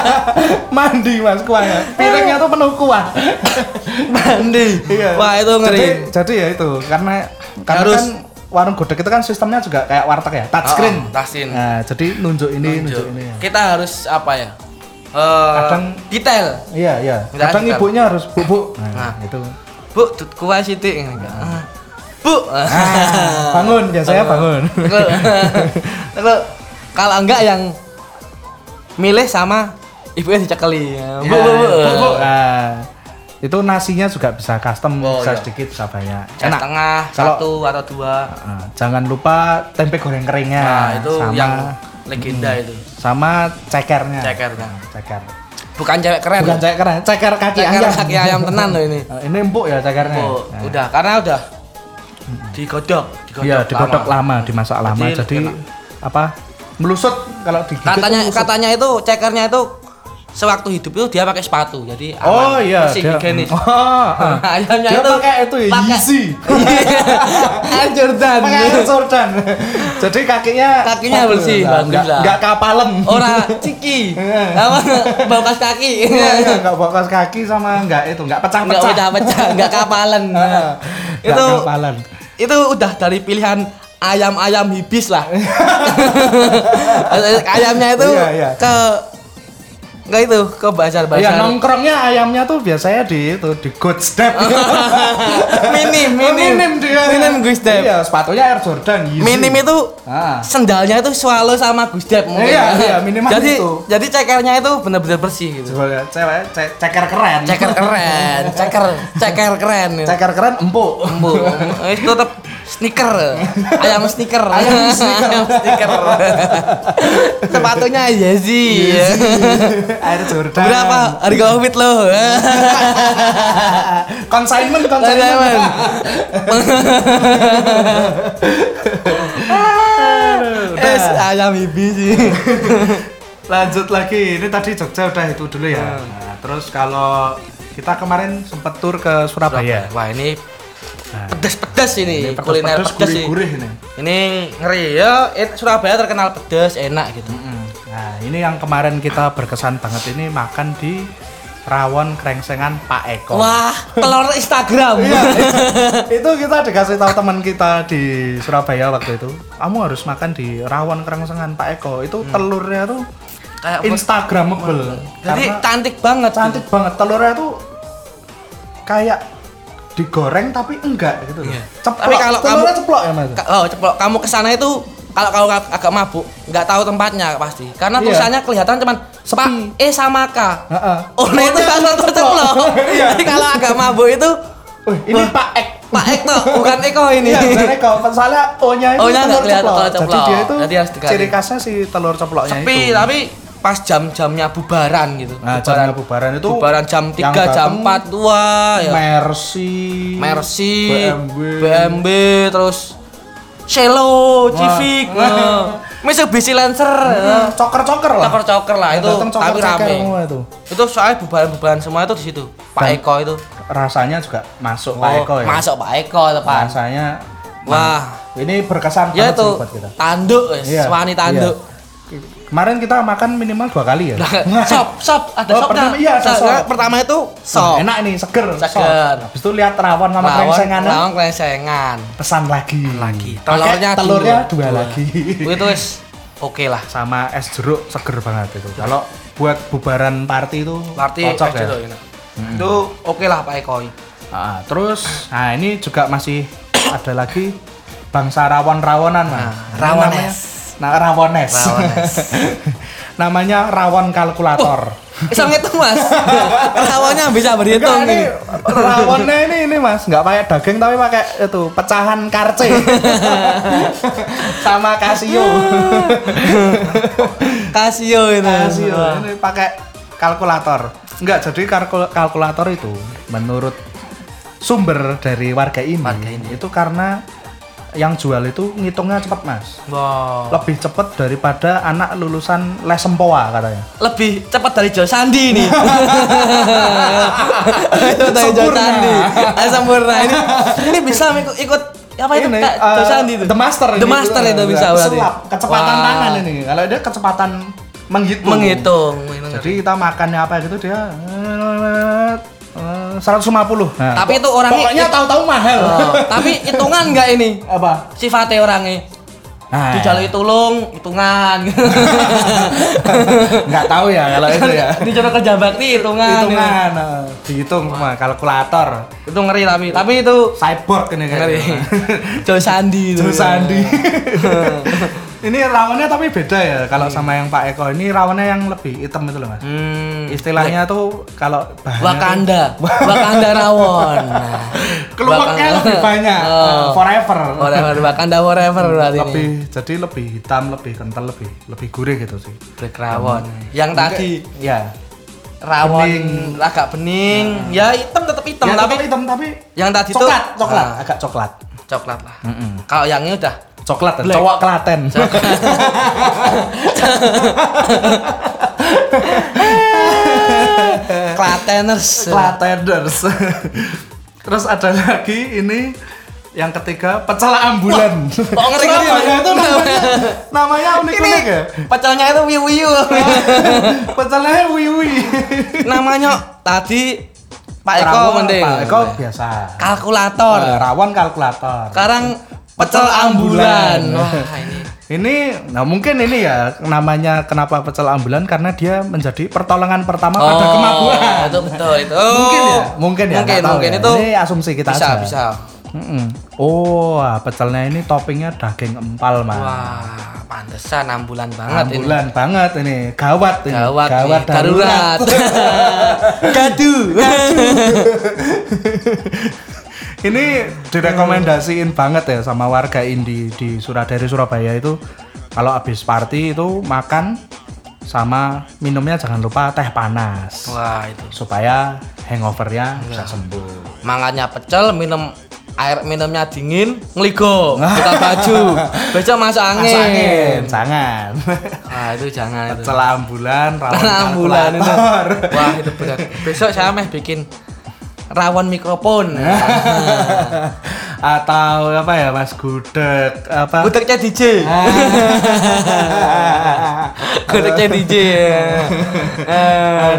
Speaker 1: mandi mas kuahnya piringnya tuh penuh kuah
Speaker 2: mandi. Wah itu ngeri.
Speaker 1: Iya. jadi, jadi ya itu karena karena
Speaker 2: Harus
Speaker 1: kan warung gudeg itu kan sistemnya juga kayak warteg ya, touchscreen.
Speaker 2: Oh, oh, touchscreen.
Speaker 1: Nah, jadi nunjuk ini, nunjuk, ini. ya.
Speaker 2: Kita harus apa ya? Eh,
Speaker 1: Kadang-
Speaker 2: detail.
Speaker 1: Iya, iya.
Speaker 2: Nggak
Speaker 1: Kadang
Speaker 2: ada.
Speaker 1: ibunya harus bu, bu.
Speaker 2: Nah.
Speaker 1: Nah, itu.
Speaker 2: Bu, tut kuah sithik. Ah. Bu.
Speaker 1: Ah, bangun biasanya bangun.
Speaker 2: Lu, lu, kalau enggak yang milih sama ibunya
Speaker 1: Ya,
Speaker 2: dicekeli. Bu, bu, bu.
Speaker 1: Bu, bu. Nah, Iya, itu nasinya juga bisa custom,
Speaker 2: Oh,
Speaker 1: bisa
Speaker 2: iya.
Speaker 1: sedikit, bisa banyak.
Speaker 2: Yang tengah,
Speaker 1: Kalau-
Speaker 2: satu atau dua.
Speaker 1: Nah, jangan lupa tempe goreng keringnya.
Speaker 2: Nah, itu
Speaker 1: Ya, sama, Hmm.
Speaker 2: yang legenda itu.
Speaker 1: sama cekernya. Ah,
Speaker 2: Cekernya.
Speaker 1: Ceker.
Speaker 2: Bukan cewek keren.
Speaker 1: Bukan ceker, ya, ceker kaki
Speaker 2: Ceker
Speaker 1: ayam.
Speaker 2: kaki ayam tenan loh ini.
Speaker 1: Nah, Ini empuk ya cekernya.
Speaker 2: Bu,
Speaker 1: Nah.
Speaker 2: udah karena udah digodok, digodok.
Speaker 1: Iya, digodok lama, dimasak lama.
Speaker 2: Jadi
Speaker 1: Jadi,
Speaker 2: enak.
Speaker 1: apa? Melusut kalau digigit. tuh
Speaker 2: Katanya
Speaker 1: melusut.
Speaker 2: katanya itu cekernya itu sewaktu hidup itu dia pakai sepatu. Jadi aman.
Speaker 1: Oh iya,
Speaker 2: masih higienis.
Speaker 1: Oh, ah.
Speaker 2: Ayamnya
Speaker 1: dia
Speaker 2: Nah, itu
Speaker 1: pakai itu ya,
Speaker 2: pakai-
Speaker 1: Yeezy.
Speaker 2: Air Jordan.
Speaker 1: Pakai Air Jordan. Jadi kakinya
Speaker 2: Kakinya
Speaker 1: Waduh,
Speaker 2: bersih,
Speaker 1: lah,
Speaker 2: bagus
Speaker 1: nggak-
Speaker 2: lah.
Speaker 1: nggak kapalem.
Speaker 2: Ora ciki. Apa bau kas kaki.
Speaker 1: Iya, iya, nggak bokas kaki sama nggak itu, nggak
Speaker 2: Enggak
Speaker 1: pecah-pecah.
Speaker 2: pecah-pecah, enggak kapalan.
Speaker 1: Ah, nggak
Speaker 2: itu
Speaker 1: kapalan.
Speaker 2: itu udah dari pilihan ayam-ayam hibis lah. Ayamnya itu
Speaker 1: Iya, iya.
Speaker 2: ke enggak itu ke bazar-bazar.
Speaker 1: Iya, nongkrongnya ayamnya tuh biasanya di itu di Good Step.
Speaker 2: minim, minim.
Speaker 1: Oh, dia.
Speaker 2: Minim Gus Dep.
Speaker 1: Iya, sepatunya Air Jordan. Yeezy.
Speaker 2: Minim itu
Speaker 1: Ah.
Speaker 2: sendalnya itu swallow sama Gus Dep mungkin.
Speaker 1: Iya,
Speaker 2: ya.
Speaker 1: iya, minimal
Speaker 2: jadi,
Speaker 1: itu.
Speaker 2: Jadi cekernya itu benar-benar bersih gitu.
Speaker 1: Coba lihat, cewek ce- ceker keren.
Speaker 2: Ceker keren, ceker ceker keren. ya.
Speaker 1: Ceker keren empuk.
Speaker 2: Bu, itu tetap sneaker, ayam sneaker, ayam sneaker, Sepatunya Yeezy.
Speaker 1: Iya, Air Jordan.
Speaker 2: Iya. Berapa harga outfit lo?
Speaker 1: Iya. Consignment,
Speaker 2: Teman-teman.
Speaker 1: consignment.
Speaker 2: Terus ayam bibi sih.
Speaker 1: Lanjut lagi. Ini tadi Jogja udah itu dulu
Speaker 2: Hmm.
Speaker 1: ya. Nah, terus kalau kita kemarin sempet tur ke Surabaya.
Speaker 2: Wah ini pedas-pedas ini,
Speaker 1: Iya. Nah. Pedes-pedes,
Speaker 2: kuliner pedas sih.
Speaker 1: gurih-gurih ini.
Speaker 2: Ini ngeri ya, eh, Surabaya terkenal pedas, enak gitu.
Speaker 1: Mm. Nah, ini yang kemarin kita berkesan banget ini makan di rawon krengsengan Pak Eko.
Speaker 2: Wah, telur Instagram.
Speaker 1: Iya, itu kita dikasih tahu teman kita di Surabaya waktu itu. Kamu harus makan di rawon krengsengan Pak Eko. Itu
Speaker 2: Hmm.
Speaker 1: telurnya tuh
Speaker 2: Kayak
Speaker 1: Instagramable.
Speaker 2: Jadi
Speaker 1: Karena
Speaker 2: cantik banget. gitu.
Speaker 1: cantik banget telurnya tuh kayak digoreng tapi enggak gitu loh.
Speaker 2: Iya.
Speaker 1: Ceplok.
Speaker 2: Tapi kalau kamu-
Speaker 1: telurnya ceplok ya Mas?
Speaker 2: Ka- Oh, ceplok. Kamu kesana itu kalau kamu ag- agak mabuk, nggak tahu tempatnya pasti. Karena
Speaker 1: Iya.
Speaker 2: tulisannya kelihatan cuman Pak E sama K.
Speaker 1: Heeh.
Speaker 2: Oh, nah itu kalau ceplok.
Speaker 1: Iya.
Speaker 2: Jadi kalau agak mabuk itu
Speaker 1: Wih, ini
Speaker 2: Wah.
Speaker 1: Pak Ek.
Speaker 2: Pak Eko, bukan Eko ini.
Speaker 1: Iya, bener kalau soalnya O-nya itu
Speaker 2: O-nya nggak
Speaker 1: telur
Speaker 2: kelihatan,
Speaker 1: ceplok.
Speaker 2: telur ceplok.
Speaker 1: Jadi dia itu
Speaker 2: Jadi harus dikasih.
Speaker 1: ciri khasnya si telur ceploknya
Speaker 2: Sepi,
Speaker 1: itu.
Speaker 2: tapi pas jam-jamnya bubaran gitu.
Speaker 1: Nah, jamnya bubaran itu
Speaker 2: bubaran jam
Speaker 1: yang
Speaker 2: 3, jam
Speaker 1: dateng
Speaker 2: 4 tua ya.
Speaker 1: Mercy,
Speaker 2: Mercy,
Speaker 1: BMW.
Speaker 2: BMW, terus Cello, Civic,
Speaker 1: Wah.
Speaker 2: eh, Mitsubishi Lancer,
Speaker 1: Hmm,
Speaker 2: eh.
Speaker 1: coker-coker lah.
Speaker 2: coker-coker lah itu
Speaker 1: Datang coker
Speaker 2: tapi rame
Speaker 1: semua itu.
Speaker 2: itu soalnya bubaran-bubaran semua itu di situ Pak
Speaker 1: Dan-
Speaker 2: Eko itu
Speaker 1: Rasanya juga masuk Pak Eko ya.
Speaker 2: Oh, masuk Pak Eko depan
Speaker 1: Rasanya
Speaker 2: wah
Speaker 1: ini berkesan
Speaker 2: ya
Speaker 1: banget
Speaker 2: itu
Speaker 1: sih buat kita.
Speaker 2: tanduk wes
Speaker 1: Iya,
Speaker 2: wani tanduk
Speaker 1: iya. Kemarin kita makan minimal dua kali ya.
Speaker 2: Lah, shop shop ada
Speaker 1: Oh,
Speaker 2: shopnya
Speaker 1: pertama- iya, ada
Speaker 2: Nah,
Speaker 1: shop.
Speaker 2: karena pertama itu shop
Speaker 1: Enak nih, seger.
Speaker 2: Seger.
Speaker 1: sop. Habis itu lihat rawon sama
Speaker 2: lawan
Speaker 1: krengsengan. eh?
Speaker 2: lawan krengsengan
Speaker 1: Pesan lagi.
Speaker 2: lagi
Speaker 1: Pakai
Speaker 2: telurnya dua.
Speaker 1: telurnya dua, lagi.
Speaker 2: itu wes oke lah
Speaker 1: sama es jeruk seger banget itu. Kalau buat bubaran party itu
Speaker 2: berarti
Speaker 1: cocok ya.
Speaker 2: itu oke lah Pak Eko
Speaker 1: Ah, terus nah ini juga masih ada lagi bangsa rawon-rawonan mas.
Speaker 2: Nah,
Speaker 1: Ini
Speaker 2: rawones.
Speaker 1: namanya- Nah, rawones.
Speaker 2: Rawones.
Speaker 1: namanya rawon kalkulator.
Speaker 2: bisa ngitung mas lawannya bisa
Speaker 1: Enggak,
Speaker 2: berhitung
Speaker 1: ini
Speaker 2: Oh, ini
Speaker 1: rawonnya ini ini mas nggak pakai daging tapi pakai itu pecahan karce sama kasio
Speaker 2: Casio itu.
Speaker 1: kasio oh,
Speaker 2: Ah.
Speaker 1: ini pakai kalkulator nggak jadi kalkul- kalkulator itu menurut sumber dari warga ini,
Speaker 2: Warga ini.
Speaker 1: itu karena yang jual itu ngitungnya cepet mas
Speaker 2: Wow.
Speaker 1: lebih cepet daripada anak lulusan les sempoa katanya
Speaker 2: Lebih cepat dari Joe Sandi ini. itu dari Joe
Speaker 1: Sempurna.
Speaker 2: Sandi. Ah, sempurna ini. Ini bisa ikut, ikut apa itu
Speaker 1: Ini,
Speaker 2: Kak?
Speaker 1: eh,
Speaker 2: Joe Sandi itu.
Speaker 1: The Master
Speaker 2: The Master itu bisa berarti.
Speaker 1: Sulap, kecepatan
Speaker 2: Wah.
Speaker 1: tangan ini. Kalau dia kecepatan menghitung.
Speaker 2: Menghitung.
Speaker 1: Jadi kita makannya apa gitu dia eh, eh, 150. Nah.
Speaker 2: Tapi itu orangnya-
Speaker 1: pokoknya tahu-tahu mahal.
Speaker 2: Oh, tapi hitungan nggak ini
Speaker 1: Apa?
Speaker 2: sifatnya orangnya
Speaker 1: Nah,
Speaker 2: dijalui tulung hitungan
Speaker 1: nggak tahu ya kalau itu ya.
Speaker 2: dijalui Kan kerja bakti hitungan ya.
Speaker 1: Hitungan, eh, dihitung sama kalkulator.
Speaker 2: itu ngeri tapi tapi itu
Speaker 1: Cyborg ini kan.
Speaker 2: ngeri Joe Sandi itu
Speaker 1: Joe Sandi.
Speaker 2: iya,
Speaker 1: ini rawannya tapi beda ya kalau sama yang Pak Eko. Ini rawannya yang lebih hitam itu loh, Mas.
Speaker 2: hmm,
Speaker 1: Istilahnya tuh kalau bahannya tuh-
Speaker 2: Wakanda Wakanda Rawon Nah,
Speaker 1: keluaknya
Speaker 2: Wakanda-
Speaker 1: lebih banyak.
Speaker 2: Oh.
Speaker 1: Eh, Forever.
Speaker 2: Forever, Wakanda forever berarti ini
Speaker 1: lebih jadi lebih hitam, lebih kental, lebih lebih gurih gitu sih.
Speaker 2: Black Rawon yang tadi
Speaker 1: Ya.
Speaker 2: rawon agak bening ya hitam tetap hitam
Speaker 1: Nah. Ya,
Speaker 2: tapi
Speaker 1: tetap hitam tapi
Speaker 2: yang tadi tuh
Speaker 1: coklat, coklat,
Speaker 2: Ah,
Speaker 1: agak coklat.
Speaker 2: coklat lah kalau yang ini udah
Speaker 1: Coklat,
Speaker 2: Black.
Speaker 1: cowok Klaten. Eh.
Speaker 2: Klateners
Speaker 1: Klateners. Terus ada lagi ini yang ketiga pecel ambulan.
Speaker 2: kok ngeri-ngeri ya?
Speaker 1: Surabaya itu namanya, namanya unik-unik ya.
Speaker 2: pecelnya itu wiu wiu
Speaker 1: Ah. Pecelnya wiwi.
Speaker 2: namanya tadi Pak Eko
Speaker 1: Rawon,
Speaker 2: mending
Speaker 1: Pak Eko biasa.
Speaker 2: kalkulator
Speaker 1: Eh, Rawon kalkulator.
Speaker 2: sekarang
Speaker 1: Pecel
Speaker 2: pecel ambulan
Speaker 1: ambulan.
Speaker 2: wah ini
Speaker 1: Ini, nah mungkin ini ya namanya kenapa pecel ambulan karena dia menjadi pertolongan pertama pada kemabuan.
Speaker 2: Oh, itu betul itu Oh,
Speaker 1: Mungkin ya, mungkin ya. nggak
Speaker 2: mungkin,
Speaker 1: tahu
Speaker 2: mungkin
Speaker 1: ya.
Speaker 2: itu
Speaker 1: ini ya? asumsi kita
Speaker 2: bisa
Speaker 1: aja.
Speaker 2: bisa
Speaker 1: Mm-mm. Oh, ah, pecelnya ini toppingnya daging empal mas.
Speaker 2: wah pantesan ambulan banget ini
Speaker 1: Ambulan banget ini, gawat ini.
Speaker 2: gawat,
Speaker 1: gawat
Speaker 2: nih, darurat, gadu
Speaker 1: ini direkomendasiin banget ya sama warga Indi di Surabaya Surabaya itu kalau habis party itu makan sama minumnya jangan lupa teh panas
Speaker 2: wah Iya. itu
Speaker 1: supaya hangovernya bisa sembuh.
Speaker 2: mangannya pecel minum air minumnya dingin ngeligo buka baju besok masuk angin,
Speaker 1: Masuk angin, jangan.
Speaker 2: ah itu jangan itu
Speaker 1: Celah ambulan, rawon
Speaker 2: ambulan itu
Speaker 1: kalkulator.
Speaker 2: wah itu berat besok saya meh bikin rawon mikrofon
Speaker 1: atau apa ya mas gudeg apa
Speaker 2: gudegnya DJ gudegnya DJ Eh,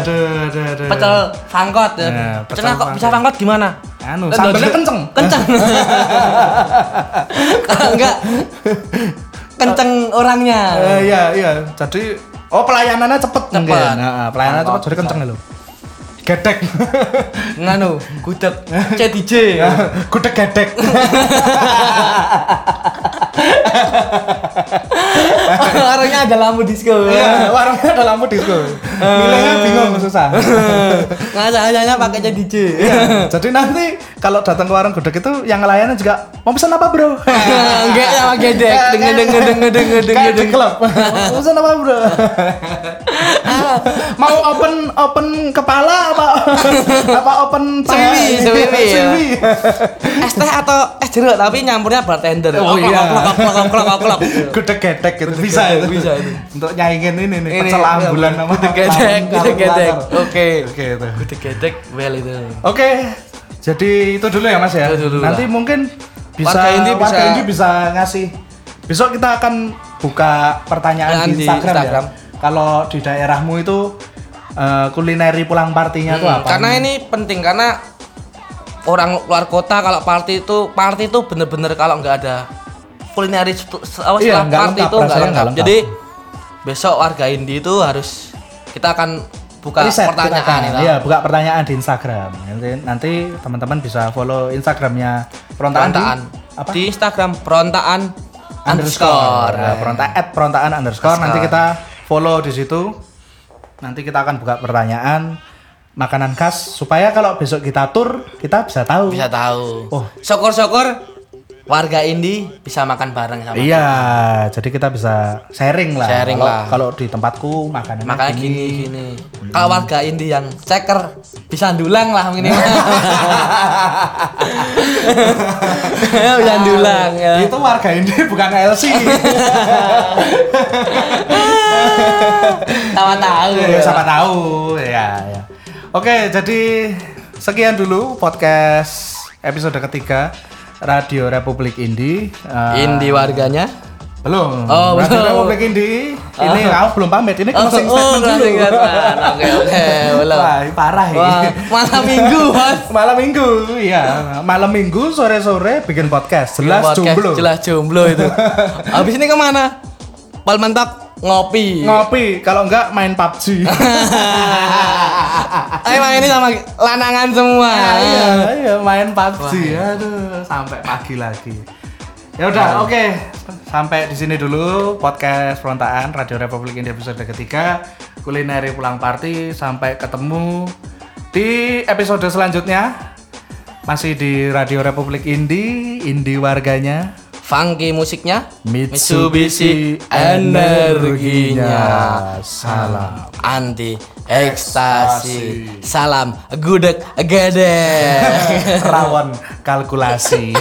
Speaker 1: aduh aduh aduh
Speaker 2: pecel fangkot ya.
Speaker 1: Nah, pecel
Speaker 2: Pecel kok bisa
Speaker 1: fangkot.
Speaker 2: fangkot gimana?
Speaker 1: Anu,
Speaker 2: Eh,
Speaker 1: sambelnya
Speaker 2: dodol-
Speaker 1: kenceng.
Speaker 2: Kenceng. Kalau enggak kenceng orangnya.
Speaker 1: Eh, iya iya jadi oh pelayanannya cepet
Speaker 2: Cepet.
Speaker 1: mungkin Nah, pelayanannya cepet jadi kenceng lo gedek
Speaker 2: Nganu, gudeg CDJ.
Speaker 1: gudeg gedek
Speaker 2: Orangnya ada lampu disco.
Speaker 1: Iya, warungnya ada lampu disco milihnya bingung susah
Speaker 2: Nggak hanya pakai CDJ.
Speaker 1: Iya, jadi nanti kalau datang ke warung gudeg itu yang layannya juga mau pesan apa bro
Speaker 2: Enggak ya, sama gedek. Deng deng deng deng deng deng
Speaker 1: Kayak di
Speaker 2: deng.
Speaker 1: Kan, klub. Urusan apa bro? Mau open open kepala apa apa open paha?
Speaker 2: Sewi, sewi, ya.
Speaker 1: Sewi.
Speaker 2: Es teh atau es jeruk tapi nyampurnya bartender.
Speaker 1: Oh,
Speaker 2: Oklok,
Speaker 1: iya.
Speaker 2: oklok, oklok, oklok, oklok.
Speaker 1: Gedek-gedek gitu bisa itu.
Speaker 2: bisa itu.
Speaker 1: Untuk nyaingin ini iya, nih,
Speaker 2: Ini,
Speaker 1: pecel ambulan sama
Speaker 2: gedek,
Speaker 1: kalung-
Speaker 2: gedek, gedek.
Speaker 1: kalung
Speaker 2: Oke.
Speaker 1: laser. Oke itu.
Speaker 2: Gudeg gedek well itu.
Speaker 1: Oke. Jadi itu dulu ya Mas ya.
Speaker 2: Itu dulu
Speaker 1: Nanti
Speaker 2: lah.
Speaker 1: mungkin bisa
Speaker 2: Warga
Speaker 1: warga
Speaker 2: Indi
Speaker 1: ini
Speaker 2: bisa-
Speaker 1: bisa, ngasih. Besok kita akan buka pertanyaan
Speaker 2: Pertanyaan
Speaker 1: di
Speaker 2: di
Speaker 1: Instagram,
Speaker 2: Instagram.
Speaker 1: ya. Kalau di daerahmu itu eh, kulineri pulang partinya tuh apa?
Speaker 2: Hmm, Karena ini penting karena orang luar kota kalau party itu party itu bener-bener kalau nggak ada kulineri setu- se- apa,
Speaker 1: Iya,
Speaker 2: setelah
Speaker 1: nggak
Speaker 2: party
Speaker 1: lengkap,
Speaker 2: itu nggak
Speaker 1: rasanya
Speaker 2: lengkap.
Speaker 1: nggak lengkap.
Speaker 2: Jadi besok warga Indi itu harus kita akan buka
Speaker 1: Riset kita
Speaker 2: pertanyaan
Speaker 1: akan.
Speaker 2: itu.
Speaker 1: Iya, buka pertanyaan di Instagram. Nanti nanti teman-teman bisa follow Instagramnya Perontaan.
Speaker 2: Perontaan
Speaker 1: Di, apa?
Speaker 2: di Instagram perontaan
Speaker 1: underscore. Nah,
Speaker 2: underscore.
Speaker 1: Peronta at perontaan underscore. Nanti kita follow di situ. Nanti kita akan buka pertanyaan makanan khas supaya kalau besok kita tur kita bisa tahu.
Speaker 2: Bisa tahu.
Speaker 1: Oh.
Speaker 2: Syukur-syukur warga Indi bisa makan bareng sama
Speaker 1: Iya, jadi kita bisa sharing lah.
Speaker 2: Sharing
Speaker 1: Kalau-
Speaker 2: lah.
Speaker 1: Kalau di tempatku makanan
Speaker 2: Makanya gini gini. Kalau warga Indi yang ceker bisa dulang lah minimal. bisa dulang ya.
Speaker 1: Nah, Itu warga ini bukan LC.
Speaker 2: Sama tahu.
Speaker 1: Ya, siapa tahu ya, ya. Oke, jadi sekian dulu podcast episode ketiga Radio Republik Indi. Eh,
Speaker 2: Indi warganya
Speaker 1: Belum. Nah,
Speaker 2: Oh,
Speaker 1: Radio
Speaker 2: belum.
Speaker 1: Republik Indi. Ini aku belum pamit. Ini
Speaker 2: Oh,
Speaker 1: closing
Speaker 2: oh,
Speaker 1: statement dulu.
Speaker 2: closing statement. Oke, oke, belum.
Speaker 1: Wah, ini parah ini.
Speaker 2: Wah, malam minggu, Mas.
Speaker 1: Malam Minggu, iya. Malam Minggu sore-sore bikin podcast. Jelas
Speaker 2: Podcast,
Speaker 1: jomblo.
Speaker 2: Jelas jomblo itu. Habis ini kemana? Palmentak ngopi.
Speaker 1: Ngopi, kalau enggak main PUBG.
Speaker 2: Emang ini sama lanangan semua.
Speaker 1: Ah, iya, iya, main PUBG. Aduh, sampai pagi lagi. Ya udah, oke. Sampai di sini dulu podcast Frontaan Radio Republik Indonesia episode ketiga kulineri pulang party sampai ketemu di episode selanjutnya masih di Radio Republik Indi, Indi warganya
Speaker 2: Funky musiknya
Speaker 1: Mitsubishi energinya. Salam.
Speaker 2: anti ekstasi. Salam gudeg gede.
Speaker 1: Rawan kalkulasi.